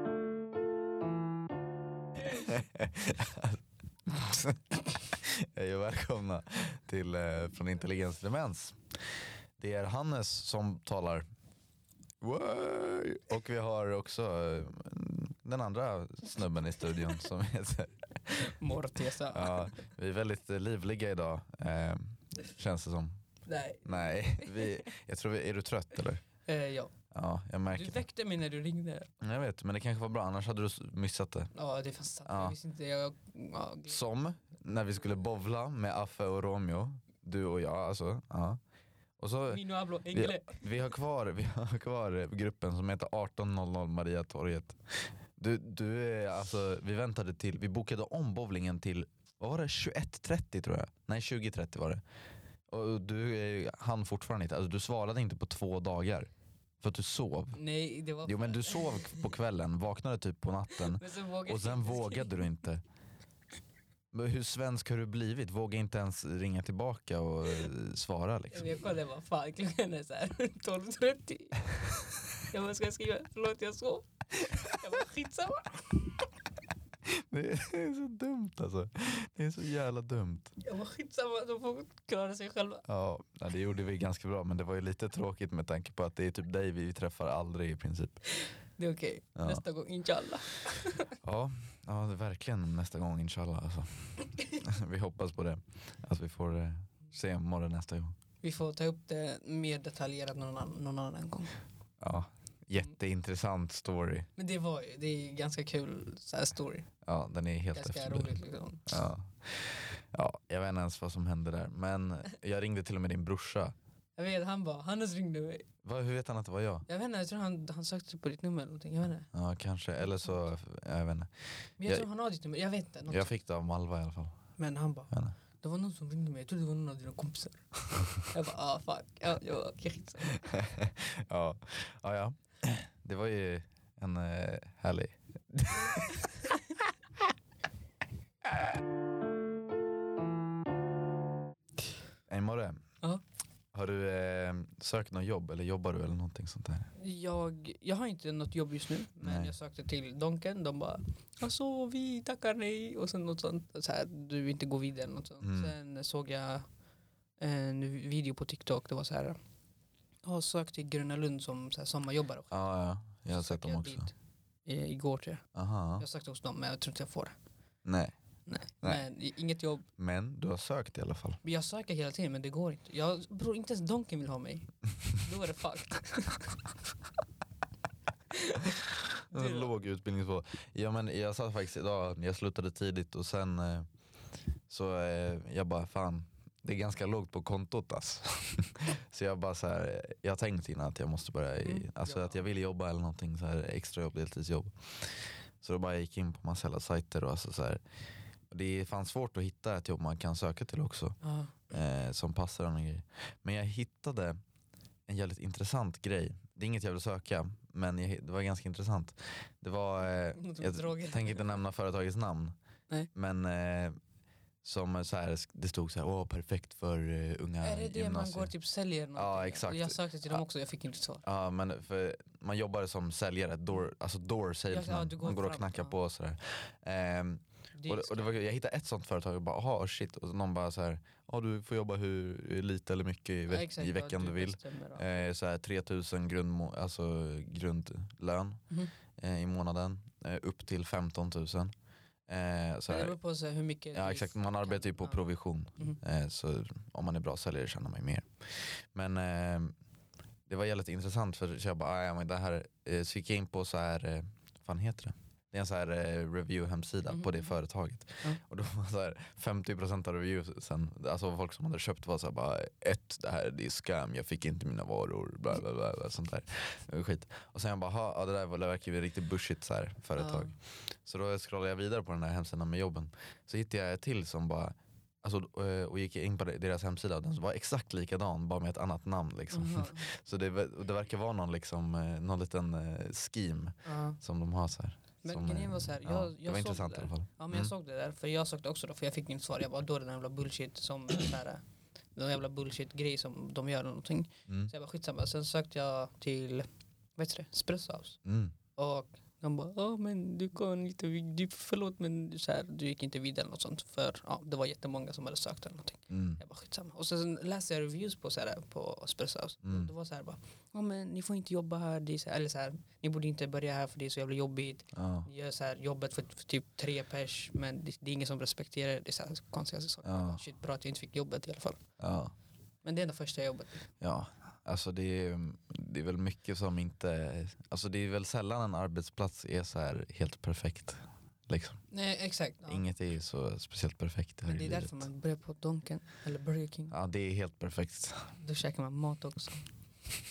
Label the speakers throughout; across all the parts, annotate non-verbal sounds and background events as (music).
Speaker 1: (laughs) Hej och välkomna till eh, Från Intelligens till Demens. Det är Hannes som talar. Way! Och vi har också eh, den andra snubben i studion som heter.
Speaker 2: Mortesa.
Speaker 1: Ja, vi är väldigt eh, livliga idag eh, känns det som.
Speaker 2: Nej.
Speaker 1: Nej, vi, jag tror vi, är du trött eller?
Speaker 2: Eh, ja.
Speaker 1: Ja, jag
Speaker 2: Du
Speaker 1: märker det.
Speaker 2: väckte mig när du ringde.
Speaker 1: Jag vet, men det kanske var bra annars hade du s- missat det.
Speaker 2: Ja, det fanns sant.
Speaker 1: Ja.
Speaker 2: Jag visste inte. Jag, ja, gl-
Speaker 1: Som när vi skulle bovla med Affe och Romeo, du och jag alltså. Ja. Och så,
Speaker 2: Mino Ablo,
Speaker 1: vi,
Speaker 2: Engle.
Speaker 1: vi, har kvar, vi har kvar gruppen som heter 1800 Mariatorget. Du, du är, alltså, vi väntade till, vi bokade om bowlingen till, vad var det, 21.30 tror jag? Nej 20.30 var det. Och du eh, hann fortfarande inte, alltså, du svarade inte på två dagar. För att du sov.
Speaker 2: Nej, det var...
Speaker 1: Jo men du sov på kvällen, vaknade typ på natten.
Speaker 2: (laughs) Men så vågade
Speaker 1: Och sen
Speaker 2: jag inte
Speaker 1: vågade du inte. Men hur svensk har du blivit? Våga inte ens ringa tillbaka och eh, svara
Speaker 2: skriva.
Speaker 1: liksom.
Speaker 2: Jag kollade vad fan klockan är såhär (laughs) 12.30. Jag bara, ska jag skriva? Förlåt, jag sov. Jag bara, skitsamma.
Speaker 1: (laughs) Det är så dumt alltså. Det är så jävla dumt.
Speaker 2: Jag bara, skitsamma. De får klara sig själva.
Speaker 1: Ja, nej, det gjorde vi ganska bra men det var ju lite tråkigt med tanke på att det är typ dig vi träffar aldrig i princip.
Speaker 2: Det är okej.
Speaker 1: Ja.
Speaker 2: Nästa gång, inshallah.
Speaker 1: Ja, ja det är verkligen nästa gång inshallah alltså. (laughs) Vi hoppas på det. Att vi får eh, se morgon nästa gång.
Speaker 2: Vi får ta upp det mer detaljerat någon annan, någon annan gång.
Speaker 1: Ja, jätteintressant story.
Speaker 2: Men det var ju, det är ju ganska kul så här story.
Speaker 1: Ja, den är helt
Speaker 2: Ganska
Speaker 1: efterbliven.
Speaker 2: roligt liksom.
Speaker 1: Ja. ja, jag vet inte ens vad som hände där. Men jag ringde till och med din brorsa.
Speaker 2: Jag vet, han bara, Hannes ringde mig.
Speaker 1: Va, hur vet han att det var jag?
Speaker 2: Jag vet inte, jag tror han, han sökte typ på ditt nummer eller någonting. Jag vet inte.
Speaker 1: Ja, kanske. Eller så, jag vet inte.
Speaker 2: Men jag,
Speaker 1: Jag-
Speaker 2: tror han har ditt nummer, jag vet inte. Något.
Speaker 1: Jag fick det av Malva i alla fall.
Speaker 2: Men han bara,
Speaker 1: Jag vet inte.
Speaker 2: det var någon som ringde mig, jag trodde det var någon av dina
Speaker 1: (laughs)
Speaker 2: kompisar. jag bara, ah fuck. Ja, ja, okej, skitsamma.
Speaker 1: (laughs) Ja. ja, ja. Det var ju en eh, härlig... (laughs) Hej Morre.
Speaker 2: Ja.
Speaker 1: Har du eh, sökt något jobb eller jobbar du eller någonting sånt där?
Speaker 2: jag, jag har inte något jobb just nu, men
Speaker 1: Nej.
Speaker 2: jag sökte till Donken. De bara, alltså vi tackar nej. Och sen något sånt, så här, du vill inte gå vidare eller något sånt.
Speaker 1: Mm.
Speaker 2: Sen såg jag eh, en video på TikTok, det var så här, jag har sökt till Gröna Lund som så här, sommarjobbare. och skit."
Speaker 1: Ja, ja. Jag har sett
Speaker 2: Sökte
Speaker 1: dem
Speaker 2: jag
Speaker 1: också.
Speaker 2: dit, eh, Igår tror jag.
Speaker 1: Aha.
Speaker 2: Jag sökte hos dem men jag tror inte jag får det.
Speaker 1: Nej.
Speaker 2: Nej.
Speaker 1: Nej.
Speaker 2: Men i- inget jobb.
Speaker 1: Men du har sökt i alla fall.
Speaker 2: Men Jag söker hela tiden men det går inte. Jag, bro, inte ens Donken vill
Speaker 1: (laughs)
Speaker 2: ha mig. Då är det fucked. Det är-
Speaker 1: Låg utbildningsnivå. Ja, men jag satt faktiskt idag, jag slutade tidigt och sen eh, så eh, jag bara fan, det är ganska lågt på kontot ass. (laughs) Så jag bara så här, eh, jag har tänkt innan att jag måste börja, i,
Speaker 2: Mm,
Speaker 1: alltså
Speaker 2: ja.
Speaker 1: att jag vill jobba eller någonting så här extrajobb, deltidsjobb. Så då bara gick jag in på massa jävla sajter och alltså så här, det är fan svårt att hitta ett jobb man kan söka till också
Speaker 2: (laughs) Ja.
Speaker 1: eh, som passar en och grej. Men jag hittade en jävligt intressant grej. Det är inget jag vill söka, men jag, det var ganska intressant. Det var, eh,
Speaker 2: Något med droger.
Speaker 1: jag tänker inte nämna företagets namn,
Speaker 2: Nej.
Speaker 1: men eh, som så här, det stod så här, åh perfekt för eh, unga
Speaker 2: är det det man
Speaker 1: gymnasier."
Speaker 2: går typ säljer någonting?
Speaker 1: Ja, exakt.
Speaker 2: Och Jag sökte till dem
Speaker 1: Ja.
Speaker 2: också jag fick inte svar.
Speaker 1: Ja men för man jobbar som säljare, door, alltså door salesman.
Speaker 2: ja, du går
Speaker 1: man går och
Speaker 2: fram,
Speaker 1: knackar
Speaker 2: ja.
Speaker 1: på och sådär. Ehm,
Speaker 2: Det är
Speaker 1: och, det- och det var, jag hittade ett sånt företag och bara, aha shit. Och någon bara så här, ja du får jobba hur lite eller mycket i,
Speaker 2: Ja,
Speaker 1: veck-
Speaker 2: exakt,
Speaker 1: i
Speaker 2: ja, typ
Speaker 1: veckan du vill.
Speaker 2: bestämmer, ja.
Speaker 1: Eh, så här 3000 grundmo- alltså grundlön
Speaker 2: Mhm.
Speaker 1: eh, i månaden, eh, upp till 15 000. Eh, så
Speaker 2: Men Det
Speaker 1: här,
Speaker 2: beror på så här, hur mycket
Speaker 1: ja,
Speaker 2: du
Speaker 1: exakt, man
Speaker 2: kan-
Speaker 1: arbetar ju på
Speaker 2: ja.
Speaker 1: provision.
Speaker 2: Mhm.
Speaker 1: Eh, så om man är bra säljare tjänar man ju mer. Men eh, det var jävligt intressant för så jag bara, ah, ja, men det här, eh, så gick jag in på så här, eh, vad fan heter det? Det är en så här eh, review-hemsida
Speaker 2: Mhm,
Speaker 1: på det
Speaker 2: mhm.
Speaker 1: företaget.
Speaker 2: Ja.
Speaker 1: Och då var så här 50% av reviewsen, alltså folk som hade köpt var så här bara ett, det här det är scam, jag fick inte mina varor, bla bla bla, bla sånt där. Eh, Skit. Och sen jag bara, "Ha, ja, det där var- det verkar ju riktigt bushigt så här, företag. Så då scrollade jag vidare på den här hemsidan med jobben. Så hittade jag ett till som bara, alltså, eh, och gick in på deras hemsida och den var exakt likadan bara med ett annat namn liksom.
Speaker 2: (laughs) Jaha.
Speaker 1: (laughs) Så det, ver- och det verkar vara någon, liksom, eh, någon liten eh, scheme
Speaker 2: Ja.
Speaker 1: som de har så här.
Speaker 2: Men
Speaker 1: som,
Speaker 2: grejen
Speaker 1: eh,
Speaker 2: var så här, jag,
Speaker 1: ja,
Speaker 2: jag
Speaker 1: det var
Speaker 2: såg
Speaker 1: intressant
Speaker 2: det
Speaker 1: i
Speaker 2: där.
Speaker 1: alla fall.
Speaker 2: Ja men jag såg det där, för jag sökte också då, för jag fick inget svar. Jag bara, då är det den jävla bullshit som, där, den jävla bullshit grej som de gör eller någonting.
Speaker 1: Mm.
Speaker 2: Så jag bara skitsamma, sen sökte jag till, vad heter det, Espresso House.
Speaker 1: Mm.
Speaker 2: Och Han bara, ja men du kan inte, vid- du, förlåt men så här, du gick inte vidare eller något sånt för ja, det var jättemånga som hade sökt eller någonting.
Speaker 1: Mm.
Speaker 2: Jag bara skitsamma. Och sen läste jag reviews på, så här, på Espresso House.
Speaker 1: Mm.
Speaker 2: Det var så här bara, ja men ni får inte jobba här, det är så här, eller så här, ni borde inte börja här för det är så jävla jobbigt.
Speaker 1: Ja.
Speaker 2: Ni gör så här jobbet för, för typ tre pers men det, det är ingen som respekterar det. Det är så här konstiga saker.
Speaker 1: Ja.
Speaker 2: Shit, bra att jag inte fick jobbet i alla fall.
Speaker 1: Ja.
Speaker 2: Men det är det första jobbet.
Speaker 1: Ja, alltså det är, det är väl mycket som inte... Alltså det är väl sällan en arbetsplats är så här helt perfekt. Liksom.
Speaker 2: Nej exakt. Ja.
Speaker 1: Inget är ju så speciellt perfekt här
Speaker 2: Men
Speaker 1: i
Speaker 2: det är
Speaker 1: livet.
Speaker 2: därför man börjar på Donken eller Burger King.
Speaker 1: Ja, det är helt perfekt.
Speaker 2: Då käkar man mat också.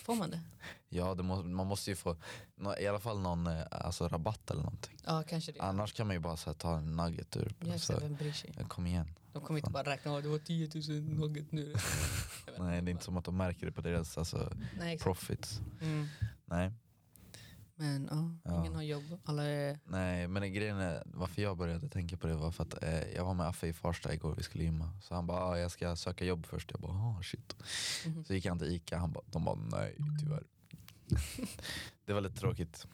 Speaker 2: Får man det?
Speaker 1: Ja, det må, man måste ju få nå- i alla fall någon eh, alltså, rabatt eller någonting.
Speaker 2: Ja kanske det.
Speaker 1: Annars kan man ju bara så här, ta en nugget ur.
Speaker 2: Just det,
Speaker 1: Så,
Speaker 2: vem bryr sig?
Speaker 1: kom igen.
Speaker 2: De kommer inte bara räkna av det var 10 000 nugget nu. Jag vet
Speaker 1: Nej, det är inte som att de märker det på deras alltså,
Speaker 2: (laughs) Nej, exakt.
Speaker 1: profits.
Speaker 2: Mm.
Speaker 1: Nej.
Speaker 2: Men ja,
Speaker 1: Ja.
Speaker 2: ingen har jobb.
Speaker 1: (laughs)
Speaker 2: Alla är...
Speaker 1: Nej, men grejen är varför jag började tänka på det var för att eh, jag var med Affe i Farsta igår, vi skulle gymma. Så han bara, ah, jag ska söka jobb först. Jag bara, ah, shit.
Speaker 2: Mhm.
Speaker 1: Så gick han till Ica, han bara, de bara, nej tyvärr. (laughs) det var lite tråkigt.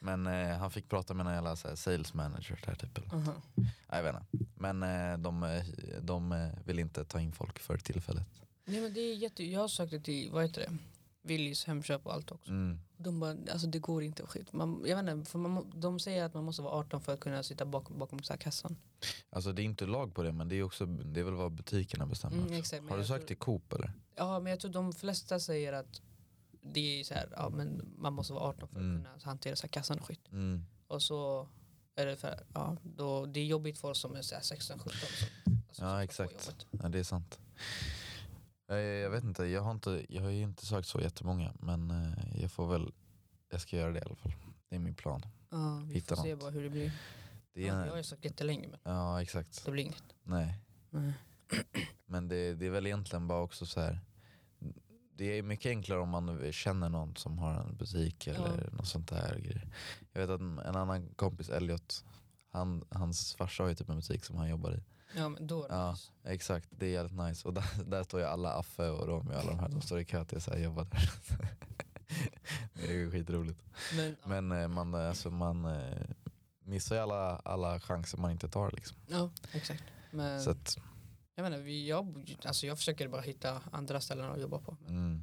Speaker 1: Men eh, han fick prata med någon jävla så här, sales manager där typ. Eller.
Speaker 2: Aha.
Speaker 1: Jag vet inte. Men eh, de, eh, de eh, vill inte ta in folk för tillfället.
Speaker 2: Nej men det är jätte... Jag sökte till, vad heter det? Willys, Hemköp och allt också.
Speaker 1: Mm.
Speaker 2: De bara, alltså det går inte och skit. Man, jag vet inte, för man, må- de säger att man måste vara 18 för att kunna sitta bakom, bakom så här kassan.
Speaker 1: Alltså det är inte lag på det men det är, också, det är väl vad butikerna bestämmer.
Speaker 2: Mm,
Speaker 1: också.
Speaker 2: exakt, men
Speaker 1: Har du
Speaker 2: jag
Speaker 1: sökt
Speaker 2: tror-
Speaker 1: till Coop eller?
Speaker 2: Ja men jag tror de flesta säger att det är så här, ja men man måste vara 18 för att
Speaker 1: Mm.
Speaker 2: kunna hantera så här kassan och skit.
Speaker 1: Mm.
Speaker 2: Och så är det för, ja då, det är jobbigt för oss som är så här 16, 17. Som, alltså,
Speaker 1: Ja,
Speaker 2: som
Speaker 1: exakt.
Speaker 2: får jobbet.
Speaker 1: Ja, det är sant. Jag, jag vet inte, jag har, inte, jag har ju inte sökt så jättemånga men eh, jag får väl, jag ska göra det i alla fall. Det är min plan.
Speaker 2: Ja, vi
Speaker 1: Hitta
Speaker 2: får se
Speaker 1: något.
Speaker 2: bara hur det blir.
Speaker 1: Det
Speaker 2: ja,
Speaker 1: är,
Speaker 2: jag har ju sagt jättelänge men
Speaker 1: ja exakt.
Speaker 2: det blir inget.
Speaker 1: Nej.
Speaker 2: Nej.
Speaker 1: Men det, det är väl egentligen bara också så här. Det är mycket enklare om man känner någon som har en butik eller något sånt där grejer. Jag vet att en annan kompis, Elliot, han, hans farsa har ju typ en butik som han jobbar i.
Speaker 2: Ja men då är det
Speaker 1: Ja.
Speaker 2: nice.
Speaker 1: Exakt, det är jävligt nice. Och där, där står ju alla Affe och Romy och alla de här. De står i kö till att så här jobba där. (laughs) det är ju skitroligt.
Speaker 2: Men, ja.
Speaker 1: Men eh, man, eh, alltså, man eh, missar ju alla, alla chanser man inte tar. Liksom.
Speaker 2: ja exakt. Men
Speaker 1: Så att,
Speaker 2: jag menar, vi, jag, alltså, jag försöker bara hitta andra ställen att jobba på. Men
Speaker 1: mm,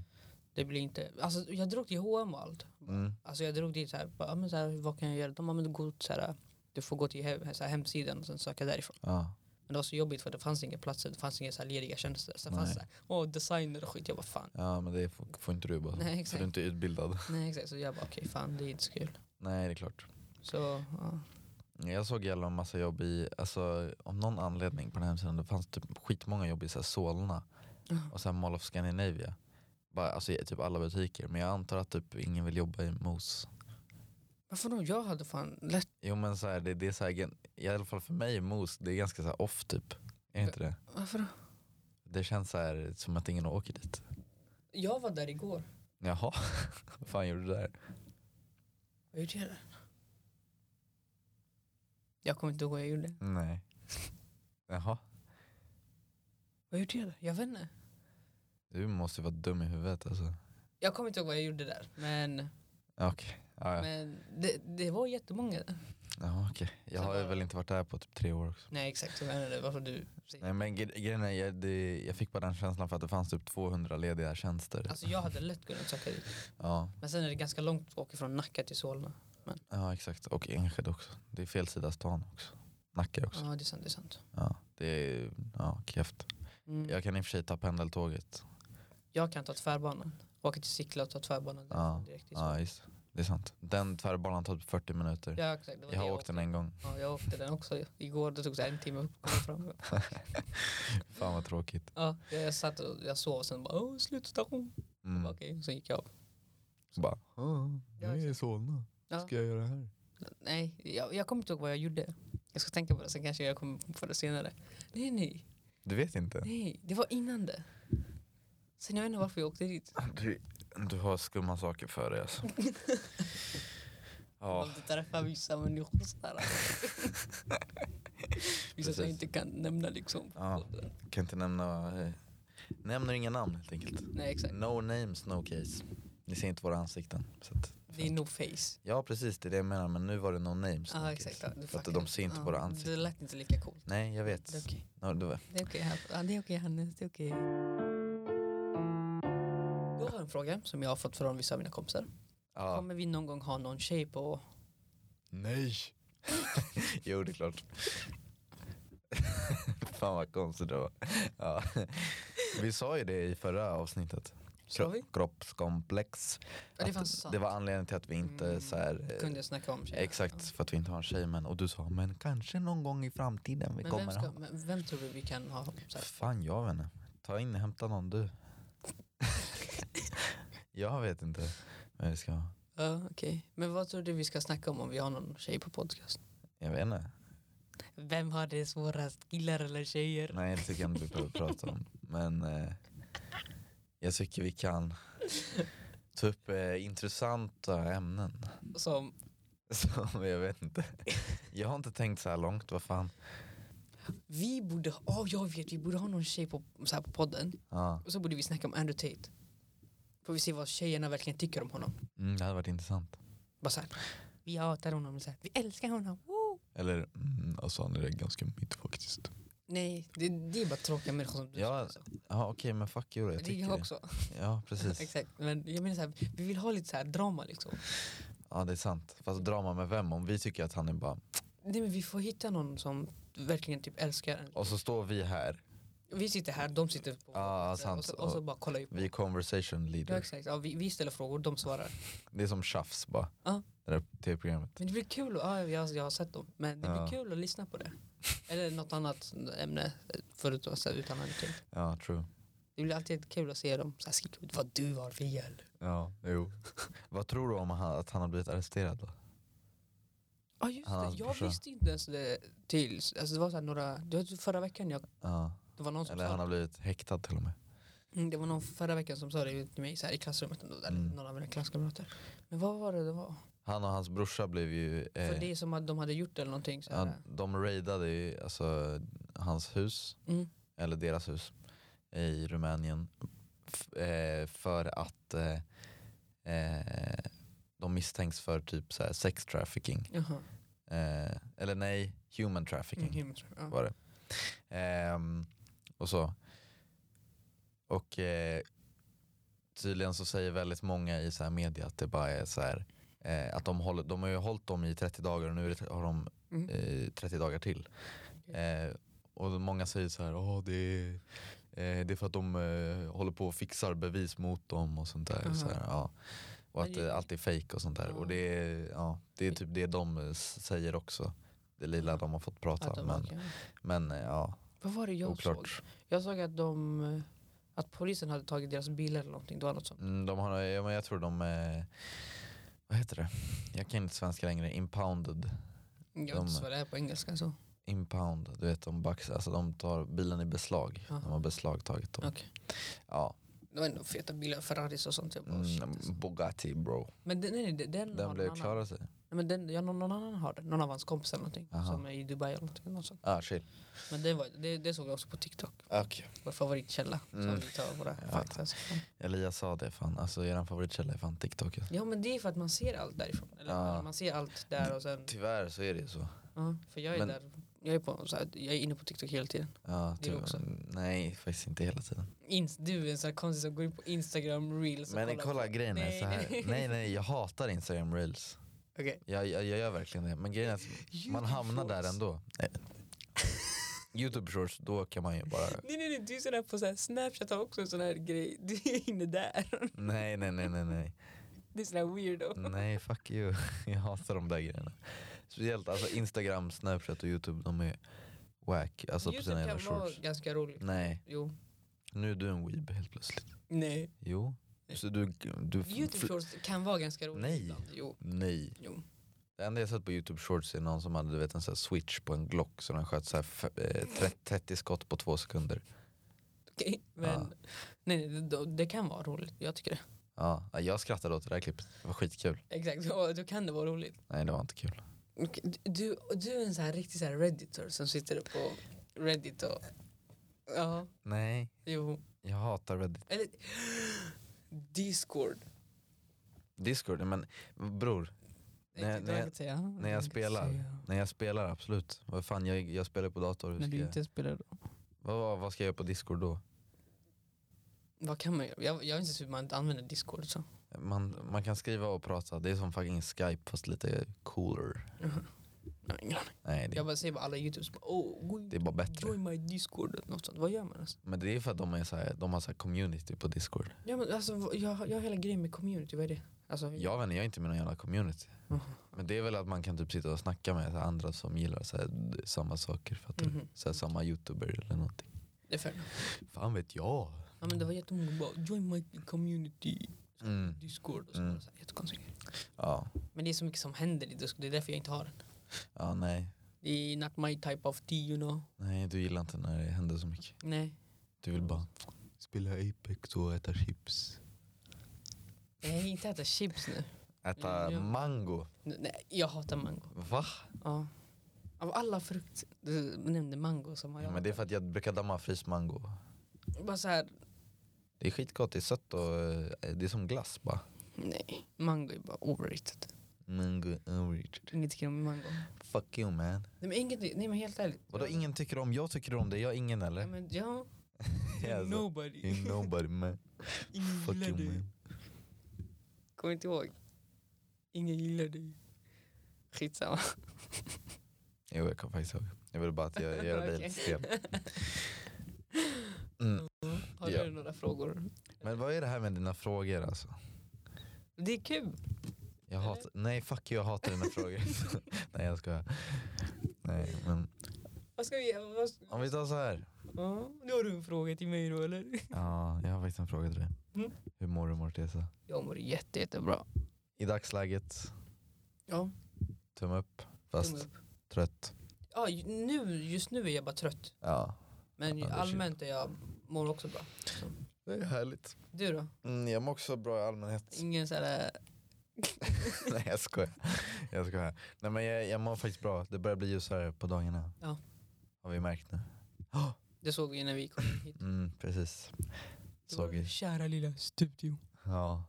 Speaker 2: det blir inte, alltså jag drog till H&M och allt.
Speaker 1: mm,
Speaker 2: Alltså jag drog dit så här, bara, ja, men så här vad kan jag göra? De bara, men du, går, så här, du får gå till he- så här, hemsidan och sen söka därifrån.
Speaker 1: ja.
Speaker 2: Men det var så jobbigt för det fanns inga platser, det fanns inga så här, lediga tjänster. Så det fanns
Speaker 1: Nej.
Speaker 2: så här, åh designer och skit, jag bara fan.
Speaker 1: ja, men det får, får inte du bara.
Speaker 2: Nej, exakt.
Speaker 1: För du är inte utbildad.
Speaker 2: Nej exakt, så jag bara okej fan det är inte så kul.
Speaker 1: Nej, det är klart.
Speaker 2: Så ja.
Speaker 1: Jag såg jävla en massa jobb i, alltså om någon anledning på den här hemsidan, det fanns typ skitmånga jobb i så här Solna
Speaker 2: Mhm.
Speaker 1: och sen Mall of Scandinavia. Bara, alltså i typ alla butiker, men jag antar att typ ingen vill jobba i Mos.
Speaker 2: Varför då? Jag hade fan lätt,
Speaker 1: Jo men så här, det, det är så här, gen- i alla fall för mig är Mos, det är ganska så här off typ. Är det inte det?
Speaker 2: varför då?
Speaker 1: Det känns så här som att ingen åker dit.
Speaker 2: Jag var där igår.
Speaker 1: Jaha, (laughs) vad fan gjorde du där?
Speaker 2: Vad gjorde jag där? Jag kommer inte ihåg vad jag gjorde.
Speaker 1: Nej. Jaha,
Speaker 2: Vad gjorde jag där? Jag vet inte.
Speaker 1: du måste ju vara dum i huvudet alltså.
Speaker 2: Jag kommer inte ihåg vad jag gjorde där. Men,
Speaker 1: Ja, Okej, ja, ja.
Speaker 2: men det, det var jättemånga där.
Speaker 1: ja, okay. jag
Speaker 2: Så
Speaker 1: har ju
Speaker 2: bara-
Speaker 1: väl inte varit där på typ tre år också.
Speaker 2: Nej exakt, så jag menar det. Varför du säger
Speaker 1: Nej men gre- grejen är, jag, det, jag fick bara den känslan för att det fanns typ 200 lediga tjänster.
Speaker 2: Alltså jag hade lätt kunnat söka dit.
Speaker 1: Ja,
Speaker 2: Men sen är det ganska långt att åka från Nacka till Solna.
Speaker 1: ja exakt. Och Enskede också. Det är fel sida stan också. Nacka också.
Speaker 2: Ja det är sant, det är sant.
Speaker 1: Ja, det är ja, kräft.
Speaker 2: Mm. Jag...
Speaker 1: Jag kan i och för sig ta pendeltåget.
Speaker 2: kan ta tvärbanan. Åka till Sickla och ta tvärbanan
Speaker 1: Ja.
Speaker 2: därifrån direkt till
Speaker 1: Ja
Speaker 2: Solna.
Speaker 1: just det. Det är sant. Den tvärbanan tar typ 40 minuter.
Speaker 2: Ja exakt, det
Speaker 1: Jag
Speaker 2: var det
Speaker 1: har
Speaker 2: jag
Speaker 1: åkt den en gång.
Speaker 2: Ja, jag åkte den också igår, det tog så här en timme att komma fram.
Speaker 1: Fan vad tråkigt.
Speaker 2: Ja, jag, jag satt och jag sov och sen bara åh slutstation.
Speaker 1: Mm.
Speaker 2: Mm. Okej, sen gick jag av.
Speaker 1: Bara, "Ah, jag är i Solna.
Speaker 2: Ja.
Speaker 1: Ska jag göra det här?
Speaker 2: Nej, jag, jag kommer inte ihåg vad jag gjorde. Jag ska tänka på det, sen kanske jag kommer på det senare. Nej, nej,
Speaker 1: Du vet inte?
Speaker 2: nej, det var innan det. Sen jag vet inte varför jag åkte dit.
Speaker 1: Du, du har skumma saker för dig (laughs) alltså.
Speaker 2: Ja.
Speaker 1: Ja.
Speaker 2: Man träffar vissa människor så
Speaker 1: (laughs)
Speaker 2: här. vissa som
Speaker 1: Precis.
Speaker 2: jag inte kan nämna liksom.
Speaker 1: Ja. Kan inte nämna... eh, Nämner inga namn helt enkelt. Mm.
Speaker 2: Nej, exakt.
Speaker 1: No names, no case. Ni ser inte våra ansikten. Så att
Speaker 2: Det är no face.
Speaker 1: Ja precis, det är det jag menar. Men nu var det no names.
Speaker 2: Ja
Speaker 1: Nick,
Speaker 2: exakt.
Speaker 1: liksom.
Speaker 2: Ja, du
Speaker 1: För att
Speaker 2: fuckar.
Speaker 1: de ser inte
Speaker 2: Ja,
Speaker 1: våra ansikten.
Speaker 2: Det lät inte lika coolt.
Speaker 1: Nej jag vet.
Speaker 2: Det är okej.
Speaker 1: Ja, det var-
Speaker 2: Det är okej Han- ja, det är okej, Hannes, det är okej. Jag har en fråga som jag har fått från vissa av mina kompisar.
Speaker 1: Ja.
Speaker 2: Kommer vi någon gång ha någon tjej på...
Speaker 1: Nej! (laughs) jo, det är klart. (laughs) Fan vad konstigt det var. Ja. Vi sa ju det i förra avsnittet.
Speaker 2: Sa vi?
Speaker 1: Kroppskomplex.
Speaker 2: Ja, det
Speaker 1: Att
Speaker 2: fanns sant.
Speaker 1: det var anledningen till att vi inte
Speaker 2: Mm.
Speaker 1: så här, eh,
Speaker 2: Kunde snacka om tjejer.
Speaker 1: Exakt, för att vi inte har en tjej. Men, och du sa, men kanske någon gång i framtiden vi
Speaker 2: Men vem,
Speaker 1: kommer
Speaker 2: ska,
Speaker 1: ha.
Speaker 2: men vem tror du vi kan ha? Så här,
Speaker 1: Fan, jag vet inte. Ta in, hämta någon
Speaker 2: (laughs)
Speaker 1: du. jag vet inte vem vi ska ha.
Speaker 2: ja, okej. Men vad tror du vi ska snacka om om vi har någon tjej på podcast?
Speaker 1: Jag vet inte.
Speaker 2: Vem har det svårast, killar eller tjejer?
Speaker 1: Nej, det tycker jag inte vi behöver prata om. Men eh, jag tycker vi kan ta upp eh, intressanta ämnen. (laughs)
Speaker 2: Som,
Speaker 1: Som jag vet inte. Jag har inte tänkt så här långt, vad fan.
Speaker 2: vi borde, ja jag vet, vi borde ha någon tjej på, så här, på podden.
Speaker 1: Ja,
Speaker 2: Och så borde vi snacka om Andrew Tate. Får vi se vad tjejerna verkligen tycker om honom.
Speaker 1: mm, det hade varit intressant.
Speaker 2: Bara så här, vi hatar honom, så här, vi älskar honom. Woo!
Speaker 1: Eller, mm, alltså han är ganska mitt faktiskt.
Speaker 2: Nej, det, det är bara tråkiga människor som du
Speaker 1: Ja,
Speaker 2: alltså.
Speaker 1: Ja, okej, men fuck you då, jag
Speaker 2: Det är
Speaker 1: tycker
Speaker 2: jag
Speaker 1: det.
Speaker 2: också. (laughs)
Speaker 1: Ja, precis.
Speaker 2: Exakt. Men jag menar så här, vi vill ha lite så här drama liksom.
Speaker 1: Ja, det är sant. Fast drama med vem? Om vi tycker att han är bara...
Speaker 2: Nej men vi får hitta någon som verkligen typ älskar en.
Speaker 1: Och så står vi här,
Speaker 2: Vi sitter här, de sitter på
Speaker 1: Ja,
Speaker 2: och, så,
Speaker 1: sant.
Speaker 2: och, så, och så bara kollar vi på.
Speaker 1: vi är conversation
Speaker 2: Ja,
Speaker 1: leader.
Speaker 2: exakt. Ja, vi, vi ställer frågor, de svarar.
Speaker 1: Det är som tjafs bara.
Speaker 2: Ja.
Speaker 1: Det där tv-programmet.
Speaker 2: Men det blir kul, och, ja, jag, jag har sett dem. Men det blir
Speaker 1: Ja.
Speaker 2: kul att lyssna på det. Eller något annat ämne förut, alltså, utan någonting.
Speaker 1: Ja, true.
Speaker 2: Det blir alltid kul att se dem så här, skriva ut vad du har för hjälp.
Speaker 1: Ja, jo. Vad tror du om han, att han har blivit arresterad då?
Speaker 2: Ja just
Speaker 1: Ja,
Speaker 2: det, jag
Speaker 1: brorsa.
Speaker 2: visste inte ens det tills, alltså det var så här några, det var typ förra veckan jag,
Speaker 1: Ja.
Speaker 2: det var någon som
Speaker 1: Eller
Speaker 2: sa
Speaker 1: han har blivit häktad till och med.
Speaker 2: Mm, det var någon förra veckan som sa det till mig så här, i klassrummet, ändå, där,
Speaker 1: Mm.
Speaker 2: någon av mina klasskamrater. Men vad var det det var?
Speaker 1: Han och hans brorsa blev ju... Eh,
Speaker 2: För det är som att de hade gjort eller någonting. Så
Speaker 1: ja,
Speaker 2: här.
Speaker 1: de raidade ju alltså, hans hus,
Speaker 2: Mm.
Speaker 1: eller deras hus, i Rumänien. F- eh, för att eh, eh, de misstänks för typ så här sex trafficking.
Speaker 2: Jaha.
Speaker 1: Eh, eller nej, human trafficking.
Speaker 2: Mm, himmel, tror jag. Ja.
Speaker 1: var det. Ehm, och så. Och eh, tydligen så säger väldigt många i så här media att det bara är så här eh, att de, håller, de har ju hållit dem i 30 dagar och nu är det- har de
Speaker 2: Mm.
Speaker 1: eh, 30 dagar till. Eh, och många säger så här, "Åh, det, är, eh, det är för att de eh, håller på och fixar bevis mot dem och sånt där.
Speaker 2: Aha.
Speaker 1: Så här, ja. Och
Speaker 2: Men
Speaker 1: att
Speaker 2: det-
Speaker 1: eh, allt är fejk och sånt där.
Speaker 2: Ja.
Speaker 1: Och det är, ja, det är typ det de eh, s- säger också. Det lilla de har fått prata.
Speaker 2: Att de,
Speaker 1: men,
Speaker 2: okej.
Speaker 1: men eh, ja,
Speaker 2: Vad var det jag såg?
Speaker 1: oklart.
Speaker 2: Jag såg att de eh, att polisen hade tagit deras bilar eller någonting. Det var något sånt.
Speaker 1: Mm, de har, ja, men jag tror de, eh, vad heter det? Jag kan inte svenska längre. Impounded.
Speaker 2: Jag vet
Speaker 1: De-
Speaker 2: inte ens vad det är på engelska. Så.
Speaker 1: Impound, du vet de baxar, alltså de tar bilen i beslag.
Speaker 2: Aha.
Speaker 1: De har beslagtagit dem.
Speaker 2: Okej.
Speaker 1: Ja,
Speaker 2: Det var ändå feta bilar, Ferraris och sånt. Jag bara, shit,
Speaker 1: mm,
Speaker 2: alltså.
Speaker 1: Bugatti bro.
Speaker 2: Men den, nej, nej, den, den
Speaker 1: Den
Speaker 2: Mm, har
Speaker 1: blev
Speaker 2: någon
Speaker 1: klar alltså.
Speaker 2: annan.
Speaker 1: av sig.
Speaker 2: Nej, men den, ja, någon, någon annan har den. Någon av hans kompisar eller någonting.
Speaker 1: Aha.
Speaker 2: Som är i Dubai eller någonting. Någon sån.
Speaker 1: Ah, chill.
Speaker 2: Men det, var, det, det såg jag också på TikTok.
Speaker 1: Okay.
Speaker 2: Vår favoritkälla
Speaker 1: Mm.
Speaker 2: som vi tar våra
Speaker 1: Ja.
Speaker 2: fakta från.
Speaker 1: Elias sa det fan, alltså eran favoritkälla är fan TikTok. alltså.
Speaker 2: Ja men det är för att man ser allt därifrån. Eller
Speaker 1: Ja.
Speaker 2: man ser allt där och sen.
Speaker 1: Tyvärr så är det ju så.
Speaker 2: Ja, för jag är
Speaker 1: Men-
Speaker 2: där. Jag är, på, så här, jag är inne på TikTok hela tiden.
Speaker 1: Ja,
Speaker 2: Det är det
Speaker 1: tyvärr.
Speaker 2: också.
Speaker 1: Nej, faktiskt inte hela tiden.
Speaker 2: Inst, du är en sån här konstig som går in på Instagram reels. och
Speaker 1: Men
Speaker 2: kollar
Speaker 1: kolla
Speaker 2: på-
Speaker 1: grejen är
Speaker 2: Nej,
Speaker 1: så här.
Speaker 2: nej. (laughs)
Speaker 1: Nej nej, jag hatar Instagram reels.
Speaker 2: Okej.
Speaker 1: Jag, jag, jag gör verkligen det. Men grejen är att man
Speaker 2: YouTube
Speaker 1: hamnar
Speaker 2: shorts.
Speaker 1: där ändå. Eh, (laughs) Youtube shorts, då kan man ju bara...
Speaker 2: Nej nej nej, du är sån här på så här, Snapchat har också en sån här grej. (laughs) Du är inne där.
Speaker 1: Nej, nej, nej, nej, nej.
Speaker 2: Det är sån här weirdo.
Speaker 1: Nej, fuck you. (laughs) Jag hatar de där grejerna. Speciellt alltså Instagram, Snapchat och Youtube, de är wack. Alltså på sina
Speaker 2: Youtube
Speaker 1: jävla
Speaker 2: kan vara
Speaker 1: shorts. Mm.
Speaker 2: ganska roligt.
Speaker 1: Nej,
Speaker 2: Jo.
Speaker 1: nu är du en weeb helt plötsligt.
Speaker 2: Nej.
Speaker 1: Jo. Så du... du
Speaker 2: Youtube shorts kan vara ganska roligt
Speaker 1: Nej.
Speaker 2: ibland. Jo.
Speaker 1: Nej.
Speaker 2: Jo.
Speaker 1: Det enda jag sett på Youtube shorts är någon som hade du vet, en sån här switch på en Glock så den sköt så här f- eh, tre- 30 skott på två sekunder.
Speaker 2: Okej. Men
Speaker 1: Ah.
Speaker 2: nej, nej det, det kan vara roligt. Jag tycker det. (laughs)
Speaker 1: Ja, jag skrattade åt det där klippet. Det var skitkul.
Speaker 2: Exakt. Ja, då kan det vara roligt.
Speaker 1: Nej, det var inte kul.
Speaker 2: Okej, Du, du är en så här riktig så här redditor som sitter på reddit och... Ja,
Speaker 1: Nej,
Speaker 2: jo.
Speaker 1: jag hatar Reddit.
Speaker 2: Eller discord.
Speaker 1: Discord, men bror, Nej,
Speaker 2: Nej,
Speaker 1: nej,
Speaker 2: nej, säga.
Speaker 1: när jag spelar, när jag spelar absolut. Vad fan, jag, jag spelar på dator. Hur
Speaker 2: När
Speaker 1: ska
Speaker 2: du
Speaker 1: jag,
Speaker 2: inte spelar då?
Speaker 1: vad, vad, vad ska jag göra på Discord då?
Speaker 2: Vad kan man göra? Jag, jag vet inte hur man använder discord så.
Speaker 1: Man, man kan skriva och prata, det är som fucking skype fast lite cooler.
Speaker 2: Nej, ingen aning.
Speaker 1: Nej, det,
Speaker 2: Jag bara säger bara alla youtubers bara, oh, gå in,
Speaker 1: det är bara bättre.
Speaker 2: join my discord eller något sånt. Vad gör man alltså?
Speaker 1: Men det är för att de, är så här, de har så här community på discord.
Speaker 2: Ja, men alltså vad- jag, jag har hela grejen med community, vad är det? Alltså, hur-
Speaker 1: Jag vet inte, jag är inte med någon jävla community.
Speaker 2: Mhm.
Speaker 1: Men det är väl att man kan typ sitta och snacka med så här, andra som gillar så här, d- samma saker. Fattar du?
Speaker 2: Mhm.
Speaker 1: Så här, samma youtuber eller någonting.
Speaker 2: Det är fair.
Speaker 1: Fan vet jag.
Speaker 2: Ja men det var jättemånga bara, join my community,
Speaker 1: Mm.
Speaker 2: discord och så.
Speaker 1: Mm.
Speaker 2: Mm. så här, jättekonstigt.
Speaker 1: Ja.
Speaker 2: Men det är så mycket som händer i discord, det är därför jag inte har den.
Speaker 1: ja, nej.
Speaker 2: Det är not my type of tea you know.
Speaker 1: Nej, du gillar inte när det händer så mycket.
Speaker 2: Nej.
Speaker 1: Du vill bara spela Apex och äta chips.
Speaker 2: Nej, inte äta chips nu.
Speaker 1: Äta
Speaker 2: Ja.
Speaker 1: mango.
Speaker 2: N- Nej, jag hatar mango.
Speaker 1: Va?
Speaker 2: Ja. Av alla frukt, du nämnde mango som har jag.
Speaker 1: Ja, men det är för att jag brukar damma fryst mango.
Speaker 2: Bara så här,
Speaker 1: Det är skitgott, det är sött och eh, det är som glass bara.
Speaker 2: nej. Mango är bara overrated.
Speaker 1: Mango overrated.
Speaker 2: Inget tycker om mango.
Speaker 1: Fuck you man.
Speaker 2: Nej men, inget, nej, men helt ärligt.
Speaker 1: Vadå ingen tycker om? Jag tycker om det, jag är ingen
Speaker 2: Ja,
Speaker 1: eller?
Speaker 2: men, ja.
Speaker 1: Ja, alltså.
Speaker 2: Nobody.
Speaker 1: Ain't (laughs) nobody man.
Speaker 2: Ingen
Speaker 1: Fuck
Speaker 2: gillar
Speaker 1: you
Speaker 2: dig.
Speaker 1: man.
Speaker 2: Kommer inte ihåg. Ingen gillar dig. Skitsamma.
Speaker 1: Jo jag kommer faktiskt ihåg. Jag ville bara att jag gör dig lite
Speaker 2: (laughs) Okej.
Speaker 1: stel. Mm.
Speaker 2: Har du
Speaker 1: Ja.
Speaker 2: några frågor?
Speaker 1: Men vad är det här med dina frågor alltså?
Speaker 2: Det är kul.
Speaker 1: Jag hatar, nej fuck you, jag hatar dina
Speaker 2: (laughs)
Speaker 1: frågor. nej jag skojar. Nej men
Speaker 2: Vad ska vi göra? Vad ska...
Speaker 1: om vi tar så här.
Speaker 2: Ja, nu har du en fråga till mig då eller?
Speaker 1: Ja, jag har faktiskt en fråga till dig.
Speaker 2: Mm.
Speaker 1: Hur mår du Mortesa?
Speaker 2: Jag mår jätte, jättebra.
Speaker 1: I dagsläget,
Speaker 2: Ja,
Speaker 1: tumme upp, fast
Speaker 2: tumme upp.
Speaker 1: trött.
Speaker 2: ja, ju- nu, just nu är jag bara trött.
Speaker 1: Ja.
Speaker 2: Men
Speaker 1: Ja, det är
Speaker 2: allmänt är jag, mår också bra.
Speaker 1: Det är härligt.
Speaker 2: Du då?
Speaker 1: Mm, jag mår också bra i allmänhet. (laughs)
Speaker 2: Ingen så här...
Speaker 1: nej jag skojar. Jag skojar. Nej men jag, jag mår faktiskt bra. Det börjar bli ljusare på dagarna.
Speaker 2: Ja.
Speaker 1: Har vi märkt nu.
Speaker 2: Det såg vi när vi kom hit.
Speaker 1: Mm, precis.
Speaker 2: Det var
Speaker 1: Såg vi.
Speaker 2: Kära lilla studio.
Speaker 1: Ja.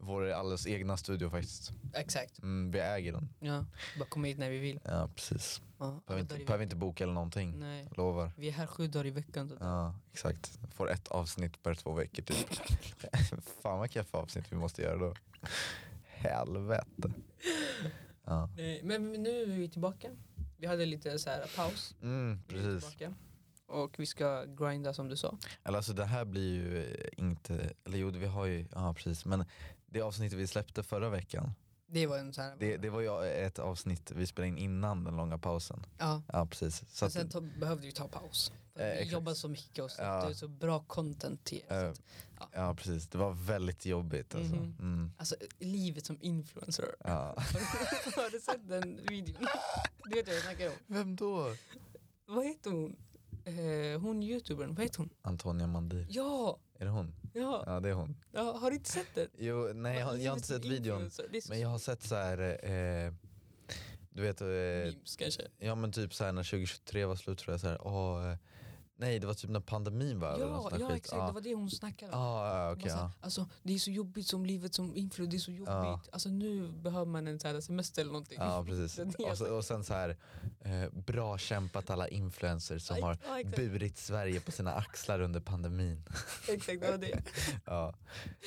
Speaker 1: Vår alldeles egna studio faktiskt.
Speaker 2: Exakt.
Speaker 1: Mm, vi äger den.
Speaker 2: Ja. Bara komma hit när vi vill.
Speaker 1: Ja precis.
Speaker 2: Ja.
Speaker 1: Behöver
Speaker 2: där
Speaker 1: inte,
Speaker 2: är Mm. vi.
Speaker 1: behöver inte boka eller någonting.
Speaker 2: Nej.
Speaker 1: Lovar.
Speaker 2: Vi är här sju dagar i veckan. Så.
Speaker 1: Ja, exakt. Får ett avsnitt per två veckor
Speaker 2: (laughs)
Speaker 1: typ. Fan vad keffa avsnitt vi måste göra då. Helvete. Ja.
Speaker 2: Nej, men nu är vi tillbaka. Vi hade lite så här paus.
Speaker 1: Mm,
Speaker 2: Vi är
Speaker 1: precis.
Speaker 2: tillbaka. Och vi ska grinda som du sa.
Speaker 1: Eller alltså det här blir ju eh, inte, eller jo vi har ju, ja precis. Men det avsnittet vi släppte förra veckan,
Speaker 2: Det var en så här...
Speaker 1: det, det var ju ett avsnitt vi spelade in innan den långa pausen.
Speaker 2: Ja.
Speaker 1: Ja precis. Så
Speaker 2: Men
Speaker 1: att,
Speaker 2: sen to- behövde vi ta paus. För
Speaker 1: Eh,
Speaker 2: att vi
Speaker 1: exakt.
Speaker 2: jobbar så mycket och
Speaker 1: Ja.
Speaker 2: släppte ut så bra content till er.
Speaker 1: eh,
Speaker 2: Så att,
Speaker 1: ja precis, det var väldigt jobbigt alltså.
Speaker 2: Mhm.
Speaker 1: Mm,
Speaker 2: alltså livet som influencer. (laughs)
Speaker 1: ja.
Speaker 2: Har du sett den videon? Du vet vad jag snackar om.
Speaker 1: Vem då?
Speaker 2: Vad heter hon? Eh, hon youtubern, vad heter hon?
Speaker 1: Antonia Mandir.
Speaker 2: Ja,
Speaker 1: Är det hon?
Speaker 2: ja,
Speaker 1: Ja det är hon.
Speaker 2: ja har du inte sett den?
Speaker 1: Jo, nej jag, har- jag har
Speaker 2: Livet
Speaker 1: inte
Speaker 2: som
Speaker 1: sett videon.
Speaker 2: influencer, Det är så
Speaker 1: Men jag har sett så här. Eh, du vet, eh,
Speaker 2: memes kanske.
Speaker 1: ja men typ så här när 2023 var slut tror jag så här, åh, eh, nej det var typ när pandemin var
Speaker 2: Ja,
Speaker 1: över eller något
Speaker 2: ja,
Speaker 1: sånt där skit.
Speaker 2: exakt, det var det hon snackade om.
Speaker 1: Ja, ja, ja,
Speaker 2: Hon bara
Speaker 1: Ah, okej, Ah.
Speaker 2: så här,
Speaker 1: ja.
Speaker 2: Alltså det är så jobbigt som livet som influencer, det är så jobbigt.
Speaker 1: Ja.
Speaker 2: Alltså nu behöver man en så här semester eller någonting. (laughs)
Speaker 1: Ja Ah, precis. Alltså,
Speaker 2: Den
Speaker 1: Och, så, och sen så här, eh, bra kämpat alla influencers som har
Speaker 2: ja, exakt,
Speaker 1: burit Sverige på sina axlar under pandemin.
Speaker 2: exakt, det var det.
Speaker 1: Ja.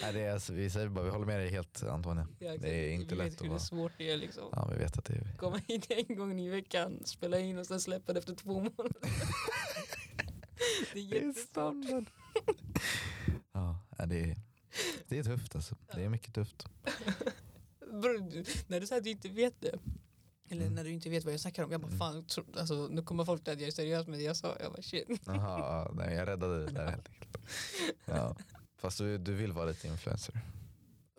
Speaker 1: Nej, det är, alltså, vi säger bara, vi håller med dig helt Antonia.
Speaker 2: Ja, exakt.
Speaker 1: Det är inte
Speaker 2: vi
Speaker 1: lätt
Speaker 2: vet
Speaker 1: att
Speaker 2: hur
Speaker 1: vara-
Speaker 2: svårt det är liksom.
Speaker 1: Ja vi vet att det är
Speaker 2: Komma (laughs) hit en gång i veckan, spela in och sen släppa det efter två månader.
Speaker 1: (laughs)
Speaker 2: det är jättesvårt.
Speaker 1: (laughs) Ja, nej, det är, det är tufft alltså. Det är mycket tufft.
Speaker 2: Bro, du, när du säger att du inte vet det. Eller
Speaker 1: Mm.
Speaker 2: när du inte vet vad jag snackar om. Jag bara
Speaker 1: Mm.
Speaker 2: fan, tro, alltså, nu kommer folk till att jag är seriös med det jag sa. Jag bara shit.
Speaker 1: Jaha, ja, nej, jag räddade det där helt enkelt. Ja. Fast du, du vill vara lite influencer.